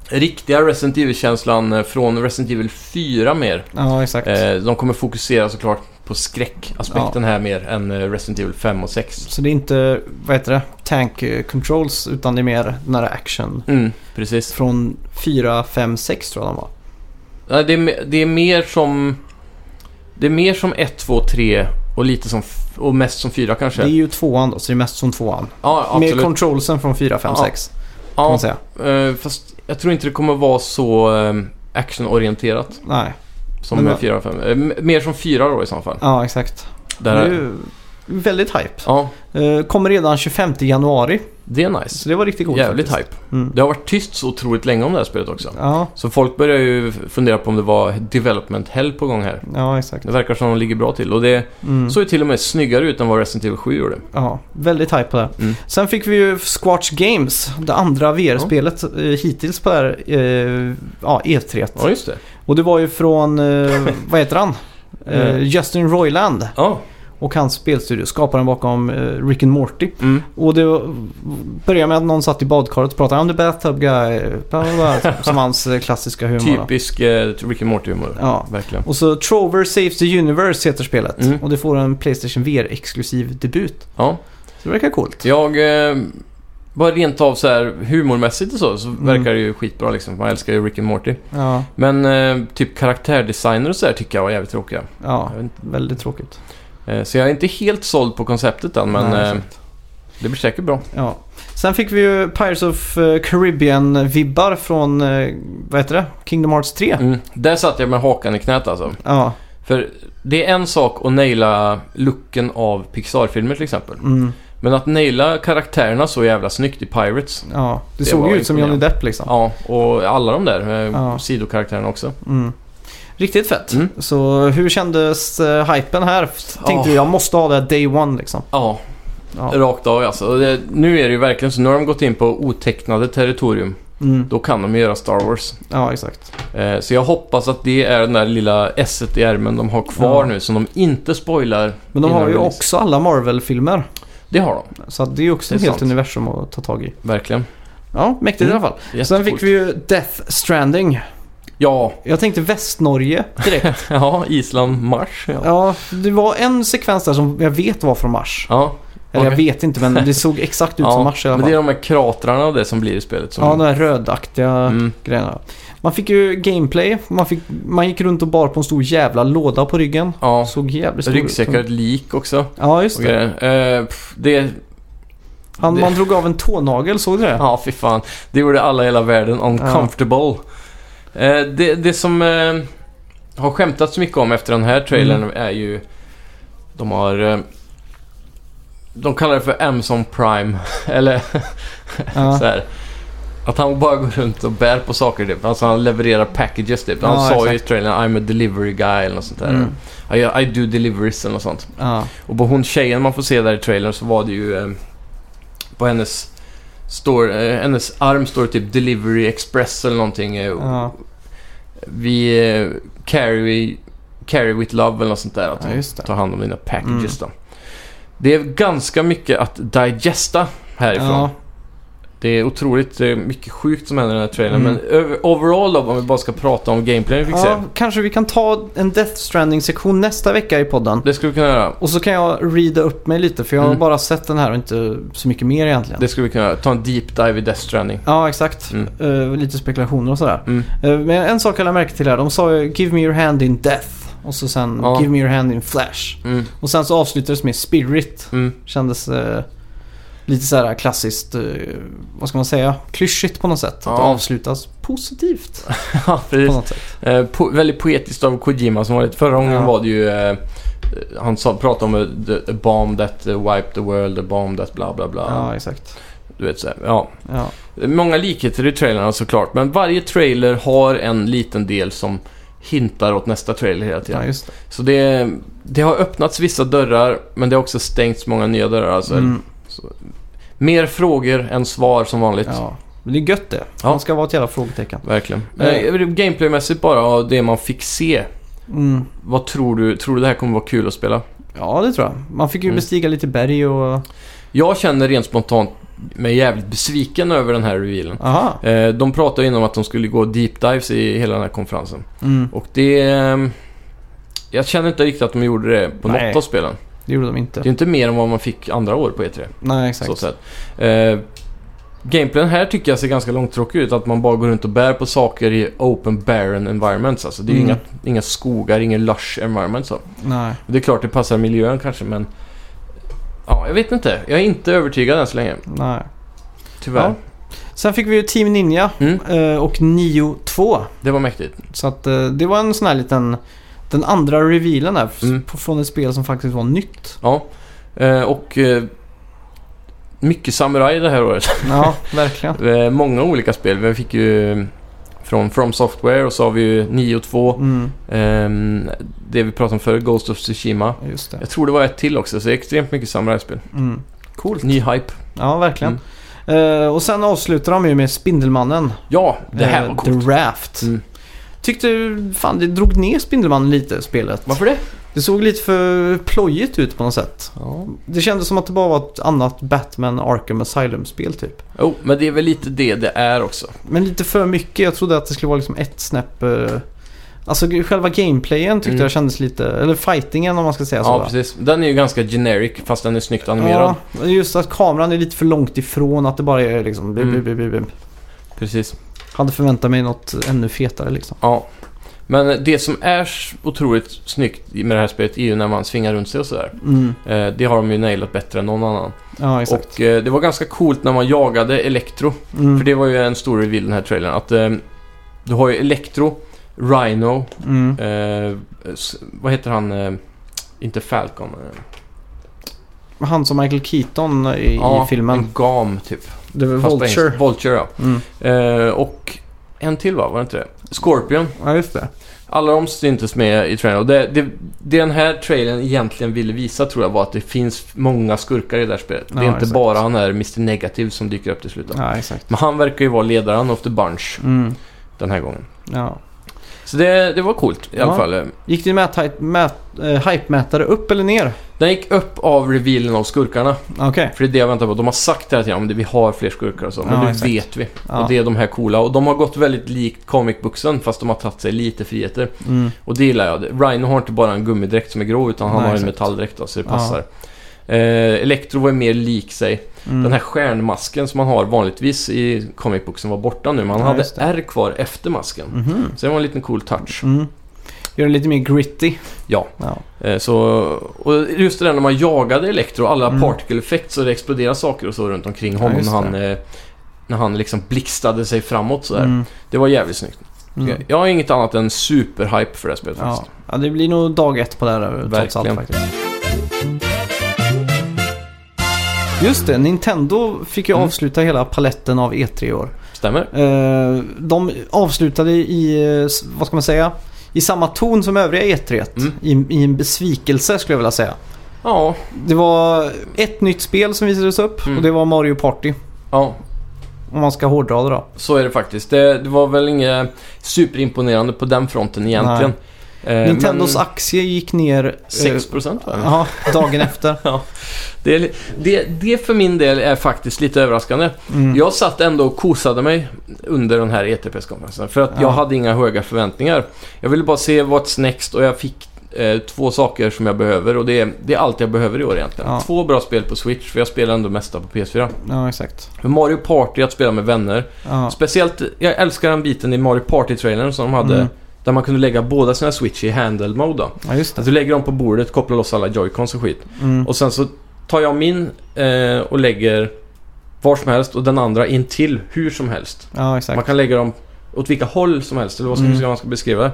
S2: riktiga Resident Evil-känslan eh, från Resident Evil 4 mer.
S1: Ja, exakt.
S2: Eh, de kommer fokusera såklart på skräckaspekten här mer än eh, Resident Evil 5 och 6.
S1: Så det är inte, vad heter det, tank eh, controls utan det är mer nära action.
S2: Mm, precis.
S1: Från 4, 5, 6 tror jag de var.
S2: Nej, det, är, me- det är mer som... Det är mer som 1, 2, 3 och lite som... f- Och mest som 4 kanske.
S1: Det är ju tvåan då, så det är mest som tvåan.
S2: ja,
S1: Med
S2: absolut.
S1: controlsen från 4, 5,
S2: Ja,
S1: 6 kan
S2: Ja,
S1: man säga.
S2: eh, fast jag tror inte det kommer vara så eh, actionorienterat
S1: Nej,
S2: som
S1: Men
S2: med
S1: vad-
S2: 4 och 5. Eh, m- mer som 4 då i så fall.
S1: ja exakt.
S2: Där,
S1: Det är ju väldigt hype.
S2: Ja,
S1: Eh, Kommer redan 25 januari,
S2: det är nice.
S1: så det var riktigt coolt
S2: Jävligt
S1: faktiskt.
S2: hype.
S1: Mm.
S2: Det har varit tyst så otroligt länge om det här spelet också.
S1: Ja,
S2: Så folk börjar ju fundera på om det var development hell på gång här.
S1: ja exakt.
S2: Det verkar som de ligger bra till och det
S1: Mm.
S2: såg ju till och med snyggare ut än vad Resident Evil 7 gjorde.
S1: Ja, väldigt hype på det.
S2: Mm.
S1: Sen fick vi ju Squatch Games, det andra VR-spelet eh, hittills på det här eh, ja, E3.
S2: Ja, just det.
S1: Och det var ju från, eh, vad heter han? Eh,
S2: Eh.
S1: Justin Roiland
S2: Ja.
S1: och hans spelstudio, skaparen bakom eh, Rick and Morty.
S2: Mm.
S1: Och det var- började med att någon satt i badkaret och pratade om the bathtub guy, bla bla bla, som hans eh, klassiska humor. då.
S2: Typisk eh, Rick and Morty-humor.
S1: Ja.
S2: Verkligen.
S1: Och så Trover Saves the Universe heter spelet.
S2: Mm.
S1: Och det får en Playstation VR-exklusiv debut.
S2: Ja.
S1: Så det verkar coolt.
S2: Jag... Eh, bara rent av så här humormässigt och så, så
S1: Mm.
S2: verkar det ju skitbra liksom. Man älskar ju Rick and Morty.
S1: Ja,
S2: Men eh, typ karaktärdesigner och så här tycker jag var jävligt tråkiga.
S1: ja
S2: Jag vet inte.
S1: väldigt tråkigt.
S2: Eh, så jag är inte helt såld på konceptet än, men
S1: Nej,
S2: eh, det blir säkert bra.
S1: Ja. Sen fick vi ju Pirates of eh, Caribbean-vibbar från, eh, vad heter det? Kingdom Hearts 3.
S2: Mm. Där satt jag med hakan i knät alltså.
S1: Ja,
S2: För det är en sak att naila looken av Pixar-filmer till exempel.
S1: mm,
S2: Men att naila karaktärerna så jävla snyggt i Pirates.
S1: ja. Det,
S2: Det
S1: såg
S2: var
S1: ju ut som Johnny
S2: imponerande.
S1: Depp liksom.
S2: Ja, och alla de där eh,
S1: Ja.
S2: sidokaraktärerna också.
S1: Mm. Riktigt fett.
S2: Mm.
S1: Så hur kändes uh, hypen här? F- Tänkte
S2: Ah.
S1: du jag måste ha det här day one liksom?
S2: Ja,
S1: Ja.
S2: rakt av alltså. Och Det, nu är det ju verkligen så. Nu har de gått in på otecknade territorium.
S1: Mm.
S2: Då kan de ju göra Star Wars.
S1: ja, exakt.
S2: Eh, så jag hoppas att det är den där lilla s i ärmen de har kvar
S1: Ja.
S2: nu som de inte spoilar.
S1: Men de
S2: innan
S1: har ju
S2: release.
S1: också alla Marvel-filmer.
S2: Det har de,
S1: Så att det är ju också
S2: Det är
S1: ett helt
S2: sant.
S1: universum att ta tag i.
S2: verkligen.
S1: Ja, mäktigt i
S2: Mm.
S1: alla fall. Sen
S2: Jättecoolt.
S1: fick vi ju Death Stranding.
S2: Ja,
S1: Jag tänkte Västnorge direkt.
S2: ja Island, Mars. Ja. Ja.
S1: ja, det var en sekvens där som jag vet var från Mars. Eller jag
S2: okej.
S1: vet inte men det såg exakt ut
S2: Ja,
S1: som Mars i alla
S2: men det
S1: fall.
S2: är de här kratrarna och det som blir i spelet. Som...
S1: Ja, de här rödaktiga...
S2: mm.
S1: grejerna. Man fick ju gameplay, man, fick, man gick runt och bar på en stor jävla låda på ryggen.
S2: ja.
S1: Såg jävligt stor
S2: Ryggsäckar,
S1: ut.
S2: ett lik också.
S1: Ja, just
S2: Och
S1: det.
S2: grejer. Eh, pff, det...
S1: Han,
S2: det-
S1: man drog av en tånagel, såg du det?
S2: Ja, fy fan. Det gjorde alla i hela världen uncomfortable. Eh, det, det som eh, har
S1: Mm.
S2: skämtats så mycket om efter den här trailern är ju... De har eh, De kallar det för Amazon Prime. Eller
S1: Ja.
S2: så här. Att han bara går runt och bär på saker typ. Alltså han levererar packages typ. Han
S1: Ja,
S2: sa ju i
S1: exakt.
S2: trailern I'm a delivery guy eller något sånt där.
S1: Mm.
S2: I, I do deliveries eller något sånt.
S1: Ja.
S2: Och på hon tjejen man får se där i trailern så var det ju eh, på hennes står, eh, hennes arm står det typ Delivery Express eller någonting. Eh,
S1: Ja.
S2: Vi eh, carry, carry with love eller något sånt där. Att
S1: Ja,
S2: hon
S1: just det. Mm.
S2: tar hand om mina packages då. Det är ganska mycket att digesta härifrån.
S1: Ja.
S2: Det är otroligt eh, mycket sjukt som händer i den här trailern.
S1: Mm.
S2: Men över, overall då, om vi bara ska prata om gameplayen vi fick
S1: Ja,
S2: se.
S1: kanske vi kan ta en Death Stranding-sektion nästa vecka i podden.
S2: Det skulle vi kunna göra.
S1: Och så kan jag reada upp mig lite för jag har
S2: Mm.
S1: bara sett den här och inte så mycket mer egentligen.
S2: Det skulle vi kunna göra. Ta en deep dive i Death Stranding.
S1: Ja, exakt.
S2: Mm.
S1: Eh, lite spekulationer och sådär.
S2: Mm.
S1: Eh, men en sak jag lade märke till här. De sa ju “Give me your hand in death” och så sen
S2: Ja.
S1: “Give me your hand in flash”.
S2: Mm.
S1: Och sen så avslutades med “Spirit”.
S2: Mm.
S1: Kändes eh, lite sådär klassiskt, eh, vad ska man säga, klyschigt på något sätt.
S2: Ja.
S1: Att det avslutas positivt
S2: Ja,
S1: på
S2: precis.
S1: något sätt.
S2: Eh, po- väldigt poetiskt av Kojima som vanligt. Förra gången
S1: Ja.
S2: var det ju... Eh, han sa, pratade om eh, the, a bomb that eh, wiped the world, a bomb that bla bla bla.
S1: Ja, exakt.
S2: Du vet så här, ja.
S1: Ja.
S2: Många likheter i trailerna såklart, men varje trailer har en liten del som hintar åt nästa trailer hela tiden.
S1: ja, just det.
S2: Så det, det har öppnats vissa dörrar, men det har också stängts många nya dörrar. Alltså.
S1: Mm.
S2: Mer frågor än svar som vanligt.
S1: Ja. Men det är gött det.
S2: Ja.
S1: Man ska vara ett jävla frågetecken.
S2: Verkligen.
S1: Eh,
S2: Eh, Gameplaymässigt bara, av det man fick se.
S1: Mm.
S2: Vad tror du? Tror du det här kommer vara kul att spela?
S1: Ja, det tror jag. Man fick ju
S2: Mm.
S1: bestiga lite berg och...
S2: Jag känner rent spontant mig jävligt besviken över den här revealen.
S1: Aha.
S2: Eh, De pratade ju innan om att de skulle gå deep dives i hela den här konferensen.
S1: Mm.
S2: Och det... ehm, Jag känner inte riktigt att de gjorde det på
S1: Nej.
S2: något av spelen.
S1: Det gjorde de
S2: Det
S1: inte.
S2: är inte mer än vad man fick andra år på E3.
S1: Nej,
S2: Så
S1: exakt.
S2: sett. Eh, gameplayen här tycker jag ser ganska långtråkig ut. Att man bara går runt och bär på saker i open barren environments. Alltså, det är ju
S1: Mm.
S2: inga, inga skogar, ingen lush environment. Så.
S1: Nej.
S2: Det är klart det passar miljön kanske, men... Ja, jag vet inte. Jag är inte övertygad än så länge.
S1: Nej.
S2: Tyvärr.
S1: Sen fick vi ju Team Ninja
S2: Mm,
S1: eh, och Nio 2.
S2: det var mäktigt.
S1: Så att eh, det var en sån här liten... Den andra revealen där f-
S2: Mm.
S1: på- från ett spel som faktiskt var nytt.
S2: Ja. Eh, och... Eh, mycket samurai det här året.
S1: Ja, verkligen.
S2: Eh, Många olika spel. Vi fick ju från From Software och så har vi ju 9 och 2.
S1: Mm,
S2: Ehm, det vi pratade om förr, Ghost of Tsushima.
S1: just det.
S2: Jag tror det var ett till också, så det är extremt mycket samurajspel.
S1: Mm. Coolt.
S2: Ny hype.
S1: Ja, verkligen. Eh, och sen avslutar de ju med Spindelmannen.
S2: Ja, Mm. det här
S1: Eh,
S2: var coolt.
S1: The Raft.
S2: Mm.
S1: Tyckte, fan det drog ner Spindelmannen lite, spelet.
S2: Varför det?
S1: Det såg lite för plojigt ut på något sätt.
S2: Ja.
S1: Det kändes som att det bara var ett annat Batman Arkham Asylum-spel typ.
S2: Jo, men det är väl lite det det är också.
S1: Men lite för mycket. Jag trodde att det skulle vara liksom ett snäpp... Eh... Alltså g- själva gameplayen tyckte
S2: Mm.
S1: jag kändes lite... Eller fightingen om man ska säga så.
S2: ja,
S1: va?
S2: precis. Den är ju ganska generic, fast den är snyggt animerad.
S1: Ja, just att kameran är lite för långt ifrån. Att det bara är liksom... Bim,
S2: Mm.
S1: bim, bim, bim, bim.
S2: Precis.
S1: Hade förväntat mig något ännu fetare liksom.
S2: Ja. Men det som är s- otroligt snyggt med det här spelet är ju när man svingar runt sig och sådär.
S1: Mm.
S2: Eh, Det har de ju nailat bättre än någon annan.
S1: Ja, exakt.
S2: Och eh, det var ganska coolt när man jagade Electro.
S1: Mm.
S2: För det var ju en stor reveal i den här trailern. Att eh, du har ju Electro, Rhino,
S1: Mm.
S2: eh, s- vad heter han? Eh, inte Falcon. Eh,
S1: Han som Michael Keaton i, i filmen.
S2: en Gam typ.
S1: Det var
S2: Fast på engelska.
S1: Vulture.
S2: Vulture ja.
S1: Mm.
S2: Eh, och en till va? Var det inte det? Scorpion.
S1: Ja, just det.
S2: Alla de syntes med i trailern. Och det, det, det den här trailern egentligen ville visa tror jag var att det finns många skurkar i det här spelet. det
S1: Ja,
S2: är inte
S1: exakt.
S2: bara han här Mr. Negative som dyker upp till slut. då.
S1: Ja, exakt.
S2: Men han verkar ju vara ledaren of the bunch
S1: Mm.
S2: den här gången.
S1: Ja.
S2: Så det, det var coolt i alla
S1: Ja.
S2: fall. Eh,
S1: Gick din mät, mät, eh, hype-mätare upp eller ner?
S2: Den gick upp av revealen av skurkarna.
S1: Okej.
S2: För det är det jag väntar på. De har sagt hela tiden att vi har fler skurkar och så. Men
S1: Ja,
S2: det
S1: exakt.
S2: vet vi.
S1: Ja.
S2: Och det är de här coola. Och de har gått väldigt likt comic booksen fast de har tagit sig lite friheter.
S1: Mm.
S2: Och det gillar jag. Rhino har inte bara en gummidräkt som är grå utan han
S1: Nej,
S2: har en
S1: exakt.
S2: metalldräkt då, så det
S1: Ja.
S2: passar. Eh, Electro var mer lik sig.
S1: Mm.
S2: Den här stjärnmasken som man har vanligtvis i comic booksen var borta nu. Man
S1: Ja,
S2: hade
S1: just det.
S2: R kvar efter masken.
S1: Mhm.
S2: Så det var en liten cool touch.
S1: Mm. Gör den lite mer gritty.
S2: Ja.
S1: Ja.
S2: Eh, Så, och just det där när man jagade Electro, alla
S1: Mm.
S2: particle effects så det exploderade saker och så runt omkring honom
S1: just
S2: när, han, eh, när han liksom blixtade sig framåt sådär.
S1: Mm.
S2: Det var jävligt snyggt.
S1: Mm.
S2: Jag har inget annat än superhype för det här spelet
S1: Ja.
S2: faktiskt.
S1: ja, eh, det blir nog dag ett på det här trots allt
S2: Verkligen.
S1: faktiskt. Just det, Nintendo fick ju
S2: Mm.
S1: avsluta hela paletten av E3 i år.
S2: Stämmer.
S1: Eh, de avslutade i, eh, s- vad ska man säga, i samma ton som övriga E3.
S2: Mm.
S1: I, I en besvikelse skulle jag vilja säga.
S2: Ja,
S1: Det var ett nytt spel som visades upp
S2: Mm.
S1: och det var Mario Party.
S2: ja
S1: Om man ska hårdra det då.
S2: så är det faktiskt. Det, det var väl inget superimponerande på den fronten egentligen. Eh,
S1: Nintendos
S2: men
S1: aktie gick ner... eh,
S2: 6 procent
S1: Ja, dagen efter.
S2: det, är li- det, det för min del är faktiskt lite överraskande.
S1: Mm.
S2: Jag satt ändå och kosade mig under den här ETP-konferensen för att
S1: Ja.
S2: jag hade inga höga förväntningar. Jag ville bara se what's next och jag fick eh, två saker som jag behöver och det är, det är allt jag behöver i år egentligen.
S1: Ja.
S2: Två bra spel på Switch för jag spelar ändå mesta på PS4.
S1: Ja, exakt.
S2: Men Mario Party att spela med vänner.
S1: Ja.
S2: Speciellt, jag älskar den biten i Mario Party-trailern som de hade
S1: Mm.
S2: där man kunde lägga båda sina Switch i handle mode då.
S1: ja, just
S2: Att
S1: det.
S2: du lägger dem på bordet, kopplar loss alla joycons och skit.
S1: Mm.
S2: Och sen så tar jag min eh, och lägger var som helst och den andra in till hur som helst.
S1: Ja,
S2: Man
S1: exakt.
S2: kan lägga dem åt vilka håll som helst eller vad ska
S1: Mm.
S2: ska man ska beskriva det.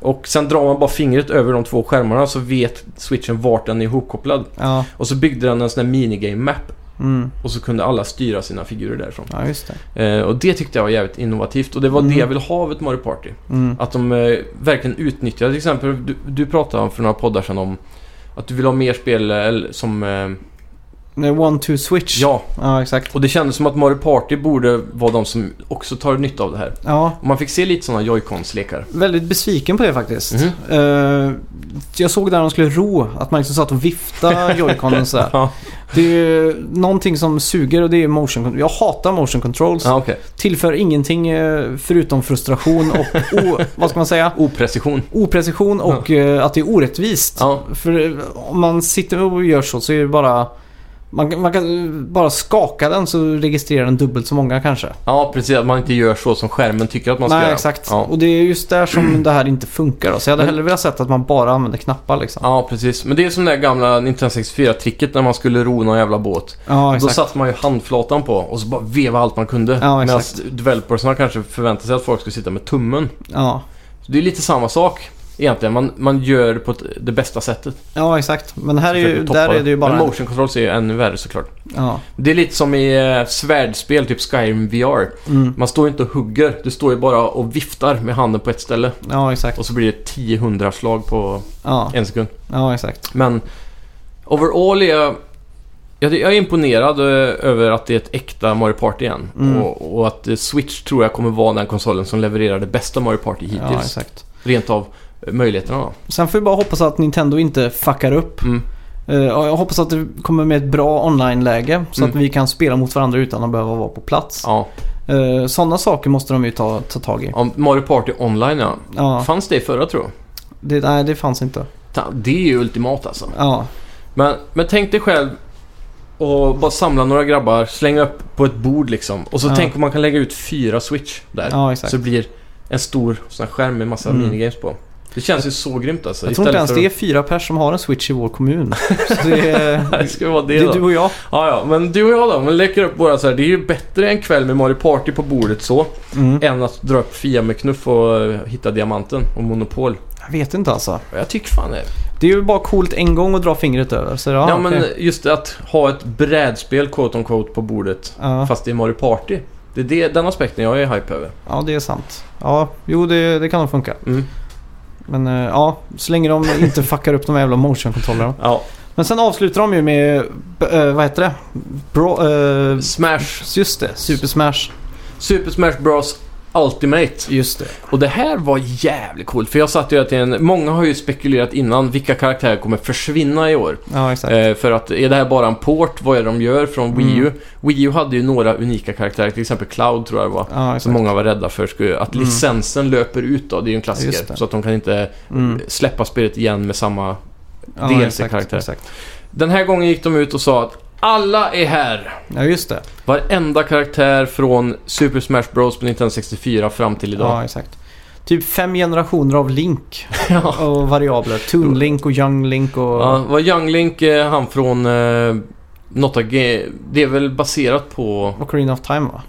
S2: Och sen drar man bara fingret över de två skärmarna så vet switchen vart den är ihopkopplad.
S1: Ja,
S2: Och så byggde den en sån här minigame-map
S1: mm.
S2: och så kunde alla styra sina figurer därifrån.
S1: ja just det.
S2: Eh, och det tyckte jag var jävligt innovativt och det var
S1: Mm.
S2: det jag ville ha av ett Mario Party.
S1: Mm.
S2: Att de eh, verkligen utnyttjar, till exempel du, du pratade om för några poddar sedan om att du vill ha mer spel eh, eller som... Eh,
S1: Nej, One, two, switch.
S2: ja,
S1: ja exakt.
S2: och det kändes som att Mario Party borde vara de som också tar nytta av det här.
S1: Ja,
S2: Och man fick se lite sådana joycons-lekar.
S1: väldigt besviken på det faktiskt.
S2: Mhm.
S1: Eh, jag såg där de skulle ro, att man liksom satt och viftade joyconen sådär.
S2: Ja,
S1: Det är ju någonting som suger och det är motion control. Jag hatar motion controls.
S2: ja okej.
S1: Tillför ingenting eh, förutom frustration och, o, vad ska man säga,
S2: Oprecision.
S1: oprecision och eh, att det är orättvist.
S2: Ja,
S1: För eh, om man sitter och gör så så är det bara... Man, kan- man kan eh, bara skaka den så registrerar den dubbelt så många kanske.
S2: ja, precis. Att man inte gör så som skärmen tycker att man ska
S1: Nej,
S2: göra.
S1: exakt.
S2: Ja.
S1: Och det är just där som det här inte funkar. Då. Så jag hade
S2: Men-
S1: hellre velat sett att man bara använder knappar liksom.
S2: Ja, precis. Men det är som det där gamla Nintendo 64-tricket när man skulle ro någon jävla båt.
S1: Ja,
S2: Då
S1: exakt.
S2: satte man ju handflatan på och så bara veva allt man kunde.
S1: Ja,
S2: Medan
S1: exakt.
S2: developersarna kanske förväntade sig att folk skulle sitta med tummen.
S1: Ja.
S2: Så det är lite samma sak egentligen. Man, man gör det på ett, det bästa sättet.
S1: ja, exakt. Men här är
S2: Försöker
S1: ju,
S2: toppa
S1: där är det ju bara...
S2: Men motion controls är ju ännu värre såklart.
S1: ja.
S2: Det är lite som i eh, svärdspel, typ Skyrim VR.
S1: Mm.
S2: Man står ju inte och hugger. Du står ju bara och viftar med handen på ett ställe.
S1: ja, exakt.
S2: Och så blir det 10 slag på
S1: Ja.
S2: en sekund.
S1: ja, exakt.
S2: Men overall är jag, jag jag är imponerad eh, över att det är ett äkta Mario Party igen.
S1: Mm.
S2: Och, och att eh, Switch tror jag kommer vara den konsolen som levererar det bästa Mario Party hittills.
S1: Ja, exakt.
S2: Rent av eh, möjligheterna då.
S1: Sen får vi bara hoppas att Nintendo inte fuckar upp.
S2: Mm.
S1: Eh, och jag hoppas att det kommer med ett bra online-läge så att
S2: Mm.
S1: vi kan spela mot varandra utan att behöva vara på plats.
S2: Ja.
S1: Eh, Sådana saker måste de ju ta, ta tag i.
S2: Om Mario Party online ja.
S1: Ja,
S2: Fanns det i förra tror jag.
S1: det, nej, det fanns inte.
S2: Ta- Det är ju ultimat alltså.
S1: Ja,
S2: Men, men tänk dig själv och bara samla några grabbar, slänga upp på ett bord liksom. Och så
S1: Ja.
S2: tänk om man kan lägga ut fyra Switch där.
S1: ja exakt.
S2: Så det blir en stor sån här skärm med massa
S1: Mm.
S2: minigames på. Det känns ju så grymt alltså.
S1: jag tror inte ens
S2: för-
S1: det är fyra pers som har en Switch i vår kommun. Så det är,
S2: det ska vara
S1: det
S2: det
S1: är du
S2: då.
S1: och jag.
S2: Ja, ja, men du och jag då. Man läcker upp våra så här. Det är ju bättre en kväll med Mario Party på bordet så.
S1: Mm.
S2: Än att dra upp Fia med knuff och eh, hitta diamanten och Monopol.
S1: Jag vet inte alltså.
S2: Och Jag tycker fan det.
S1: Det är ju bara coolt en gång att dra fingret över. Så ja,
S2: ja, men
S1: Ah, okej.
S2: just det att ha ett brädspel, quote on quote, på bordet.
S1: ja.
S2: Fast det är Mario Party. Det är det, den aspekten jag är hype över.
S1: ja, det är sant. Ja, jo det, det kan nog funka.
S2: Mm.
S1: Men eh, ja, så länge de inte fuckar upp de här jävla motion-kontrollerna.
S2: Ja.
S1: Men sen avslutar de ju med, b- eh, vad heter det? Bra, eh,
S2: Smash.
S1: just det, Super Smash.
S2: Super Smash Bros Ultimate.
S1: Just det.
S2: Och det här var jävligt coolt, för jag satt ju att en... Många har ju spekulerat innan vilka karaktärer kommer försvinna i år.
S1: Ja, exakt.
S2: Eh, för att är det här bara en port? Vad är det de gör från Wii U?
S1: Mm.
S2: Wii U hade ju några unika karaktärer, till exempel Cloud tror jag det var.
S1: ja,
S2: Som
S1: exakt.
S2: många var rädda för skulle, att
S1: Mm.
S2: licensen löper ut då, det är ju en
S1: Just
S2: klassiker.
S1: det.
S2: Så att de kan inte
S1: Mm.
S2: släppa spelet igen med samma...
S1: Ja,
S2: DLC-karaktär.
S1: exakt, exakt.
S2: Den här gången gick de ut och sa att alla är här!
S1: Ja, just det.
S2: Varenda karaktär från Super Smash Bros på 1964 fram till idag.
S1: Ja, exakt. Typ fem generationer av Link
S2: Ja.
S1: och variabler. Toon Link och Young Link och...
S2: Ja, var Young Link eh, han från eh, något av ge- Det är väl baserat på...
S1: Ocarina of Time va?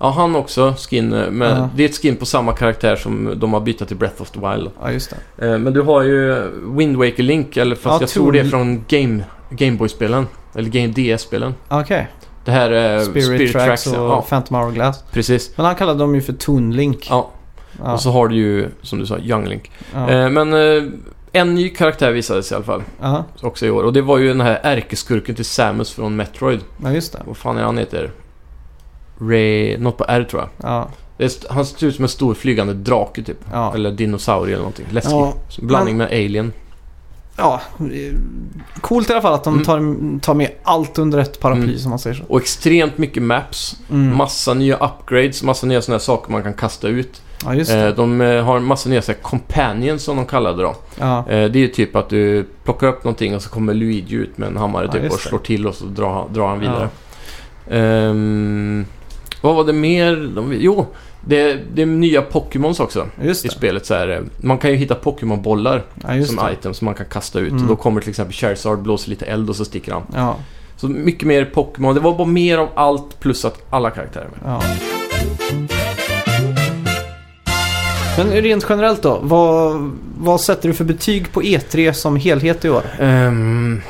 S2: Ja, han också skin. eh, Men
S1: Ja.
S2: Det är ett skin på samma karaktär som de har bytt till Breath of the Wild.
S1: Ja, just det.
S2: Eh, men du har ju Wind Waker Link, eller fast
S1: Ja,
S2: jag
S1: Toon-
S2: tror det är från Game Gameboy-spelen. Eller Game DS-spelen.
S1: Okej.
S2: Det här är
S1: Spirit, Tracks och
S2: Eh, Ja,
S1: Phantom Hourglass.
S2: precis.
S1: Men han kallade dem ju för Toon Link.
S2: Ja.
S1: Ja,
S2: Och så har du ju, som du sa, Young Link.
S1: ja,
S2: Eh, men eh, en ny karaktär visades i alla fall.
S1: aha.
S2: Också i år. Och det var ju den här ärkeskurken till Samus från Metroid.
S1: ja, just det.
S2: Vad fan är han heter? Ray... Något på R tror jag.
S1: Ja,
S2: Det är, st- han ser ut som en stor flygande drake typ.
S1: ja.
S2: Eller dinosaurie eller någonting. Läskigt.
S1: Ja.
S2: Så Blandning med alien.
S1: ja. eh, Coolt i alla fall att de
S2: Mm.
S1: tar, tar med allt under ett paraply
S2: Mm.
S1: som man säger så.
S2: Och extremt mycket maps.
S1: Mm.
S2: Massa nya upgrades. Massa nya sådana här saker man kan kasta ut.
S1: Ja, just
S2: Eh,
S1: det.
S2: de eh, har massa nya så här companions som de kallade dem.
S1: Ja,
S2: Eh, det är ju typ att du plockar upp någonting och så kommer Luigi ut med en hammare
S1: Ja,
S2: typ,
S1: just
S2: och
S1: det.
S2: slår till och så drar, han- drar han vidare. Ehm, vad var det mer? De, jo, det, det är nya Pokémons också.
S1: just
S2: i
S1: det.
S2: spelet så här, eh, Man kan ju hitta Pokémon-bollar
S1: Ja, just
S2: som
S1: det.
S2: items som man kan kasta ut.
S1: Mm.
S2: Då kommer till exempel Charizard, blåser lite eld och så sticker han.
S1: Ja,
S2: Så mycket mer Pokémon. Det var bara mer av allt plus att alla karaktärer är med.
S1: ja. Men rent generellt då, vad, vad sätter du för betyg på E3 som helhet i år?
S2: Ehm,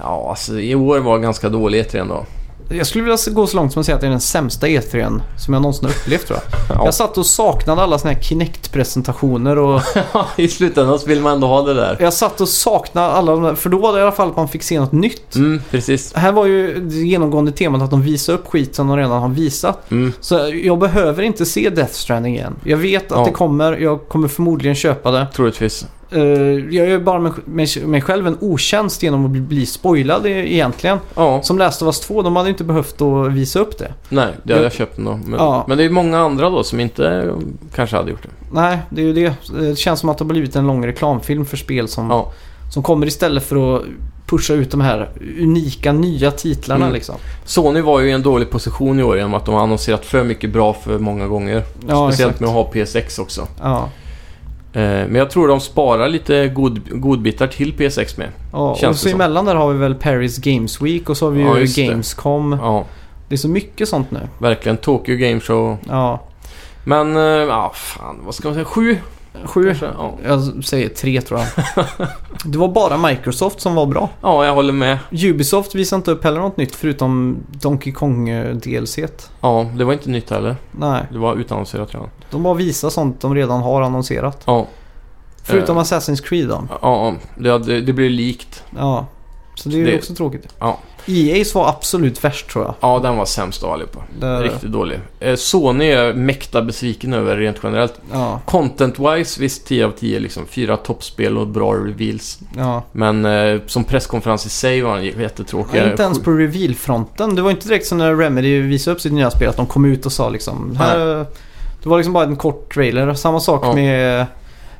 S2: ja, alltså i år var ganska E dåligt redan då.
S1: Jag skulle vilja gå så långt som att säga att det är den sämsta E3 som jag någonsin har upplevt tror jag.
S2: Ja.
S1: Jag satt och saknade alla såna här Kinect-presentationer och
S2: I slutändan så vill man ändå ha det där.
S1: jag satt och saknade alla de där, för då var det i alla fall att man fick se något nytt.
S2: Mm, precis.
S1: Här var ju det genomgående temat att de visar upp skit som de redan har visat.
S2: Mm.
S1: Så jag behöver inte se Death Stranding igen. Jag vet att
S2: Ja.
S1: det kommer, jag kommer förmodligen köpa det.
S2: Troligtvis.
S1: Eh, jag gör bara mig, mig, mig själv en otjänst genom att bli, bli spoilad e- egentligen.
S2: Ja,
S1: Som Last of Us 2, de hade ju inte behövt att visa upp det.
S2: nej, det hade jag köpt ändå. Men,
S1: Ja.
S2: men det är ju många andra då som inte eh, kanske hade gjort det.
S1: Nej, det är ju det. Eh, Det känns som att det har blivit en lång reklamfilm för spel som,
S2: Ja.
S1: som kommer istället för att pusha ut de här unika nya titlarna
S2: Mm.
S1: liksom.
S2: Sony var ju i en dålig position i år genom att de har annonserat för mycket bra för många gånger.
S1: Ja,
S2: Speciellt
S1: exakt.
S2: med att ha PS6 också.
S1: Ja.
S2: Eh, men jag tror de sparar lite god, godbitar till PS6 med.
S1: ja. Och
S2: Känns
S1: så
S2: det som.
S1: emellan där har vi väl Paris Games Week och så har vi
S2: Ja, just
S1: ju
S2: det.
S1: Gamescom.
S2: Ja,
S1: Det är så mycket sånt nu.
S2: verkligen. Tokyo Game Show.
S1: Ja.
S2: Men, eh, ja fan, vad ska man säga? Sju?
S1: Sju.
S2: kanske? Ja.
S1: Jag säger tre tror jag. Det var bara Microsoft som var bra.
S2: ja, jag håller med.
S1: Ubisoft visade inte upp heller något nytt förutom Donkey eh, Kong-delset.
S2: Ja, det var inte nytt heller.
S1: Nej,
S2: Det var utannonserat redan.
S1: de bara visar sånt de redan har annonserat.
S2: Ja,
S1: Förutom
S2: Eh.
S1: Assassin's Creed då.
S2: ja, ja. Det, hade- det blir likt.
S1: Ja. Så det är ju
S2: Det-
S1: också tråkigt.
S2: Ja.
S1: EA's var absolut värst tror jag.
S2: Ja, den var sämst av allihopa.
S1: Där-
S2: Riktigt dålig. Eh, Sony är jag mäkta besviken över rent generellt.
S1: Ja,
S2: Content-wise, visst 10 av 10 liksom. Fyra toppspel och bra reveals.
S1: ja.
S2: Men eh, som presskonferens i sig var den j- jättetråkig.
S1: Ja, inte ens på reveal-fronten. Det var inte direkt som när Remedy visade upp sitt nya spel att de kom ut och sa liksom... Här, det var liksom bara en kort trailer. Samma sak
S2: Ja.
S1: med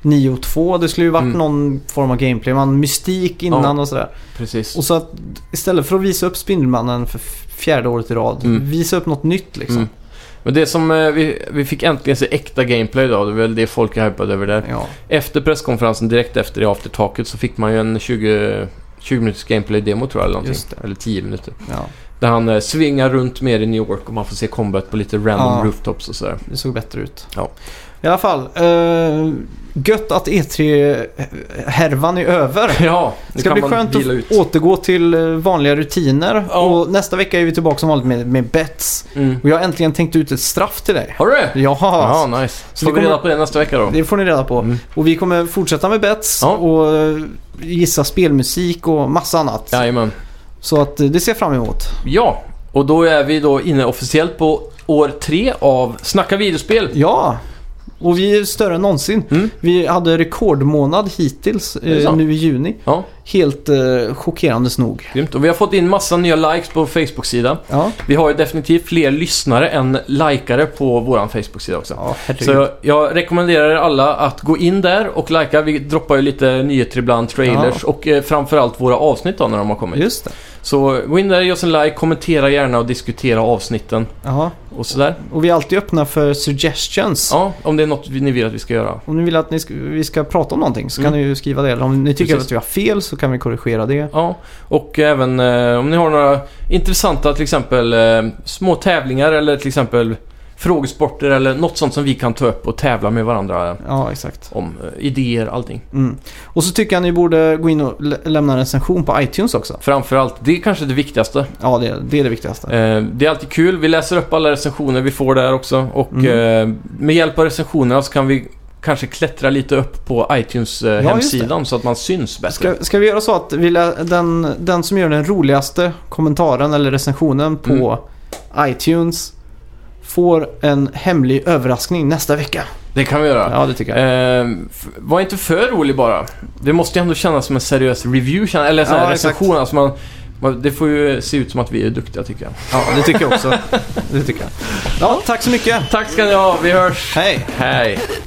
S1: Nio 2. Det skulle ju varit
S2: Mm.
S1: någon form av gameplay. Man mystik innan och sådär.
S2: Precis.
S1: Och så att istället för att visa upp Spindelmannen för f- fjärde året i rad.
S2: Mm.
S1: Visa upp något nytt liksom.
S2: Mm. Men det som eh, vi, vi fick äntligen se äkta gameplay då. Det är väl det folk är hypade över där.
S1: Ja.
S2: Efter presskonferensen, direkt efter i aftertaket, så fick man ju en 20, 20 minuters gameplay-demo tror jag. Eller, någonting.
S1: Just det.
S2: eller 10 minuter.
S1: ja,
S2: Där han eh, svingar runt mer i New York och man får se combat på lite random
S1: Ja.
S2: rooftops och sådär.
S1: det såg bättre ut.
S2: Ja.
S1: I alla fall. Eh, gött att E3-härvan är över.
S2: Ja,
S1: Det
S2: nu
S1: ska
S2: kan
S1: bli
S2: man
S1: skönt att
S2: vila ut.
S1: återgå till eh, vanliga rutiner.
S2: Ja.
S1: Och nästa vecka är vi tillbaka som vanligt med, med bets.
S2: Mm.
S1: Och jag har äntligen tänkt ut ett straff till dig.
S2: Har du det?
S1: Ja,
S2: Ja, nice.
S1: Så
S2: Så
S1: vi
S2: får vi reda
S1: kommer-
S2: på det nästa vecka då.
S1: det får ni reda på.
S2: Mm.
S1: Och vi kommer fortsätta med bets
S2: Ja.
S1: och eh, gissa spelmusik och massa annat.
S2: Jajamän.
S1: Så att eh, det ser jag fram emot.
S2: Ja, och då är vi då inne officiellt på år tre av Snacka videospel.
S1: Ja, och vi är större än någonsin.
S2: Mm.
S1: Vi hade rekordmånad hittills
S2: Är det
S1: eh,
S2: sant?
S1: nu i juni.
S2: Ja,
S1: Helt eh, chockerandes nog.
S2: grymt. Och vi har fått in massa nya likes på vår Facebook-sida.
S1: Ja,
S2: Vi har ju definitivt fler lyssnare än likare på vår Facebook-sida också.
S1: ja
S2: Så
S1: herregud.
S2: jag, jag rekommenderar er alla att gå in där och likea. Vi droppar ju lite nyheter ibland, trailers och eh, framförallt våra avsnitt då när de har kommit.
S1: Just det.
S2: Så gå in där, ge oss en like, kommentera gärna och diskutera avsnitten
S1: Ja.
S2: och sådär.
S1: Och vi är alltid öppna för suggestions.
S2: Ja, om det är något ni vill att vi ska göra.
S1: Om ni vill att ni ska, vi ska prata om någonting så kan
S2: Mm.
S1: ni ju skriva det. Eller om ni tycker
S2: Precis.
S1: att vi har fel så kan vi korrigera det.
S2: Ja, och även eh, om ni har några intressanta till exempel eh, små tävlingar eller till exempel frågesporter eller något sånt som vi kan ta upp och tävla med varandra
S1: Ja, exakt.
S2: om. eh, Idéer, allting.
S1: Mm. Och så tycker jag ni borde gå in och lä- lämna en recension på iTunes också.
S2: Framförallt, det är kanske det viktigaste.
S1: Ja, det, är- det är det viktigaste.
S2: Eh, Det är alltid kul. Vi läser upp alla recensioner vi får där också. Och
S1: Mm.
S2: eh, med hjälp av recensionerna så kan vi kanske klättra lite upp på iTunes eh,
S1: just det.
S2: hemsidan så att man syns bättre.
S1: Ska, ska vi göra så att vi lä- den, den som gör den roligaste kommentaren eller recensionen på Mm. iTunes får en hemlig överraskning nästa vecka.
S2: Det kan vi göra.
S1: Ja, det tycker jag.
S2: Eh, f- var inte för rolig bara. Det måste ju ändå kännas som en seriös review, känna- eller så här
S1: Ja, exakt.
S2: recension. Alltså man, man, det får ju se ut som att vi är duktiga tycker jag.
S1: Ja, det tycker jag också. Det tycker jag. Ja, tack så mycket.
S2: Tack ska ni ha, vi hörs.
S1: Hej!
S2: Hej.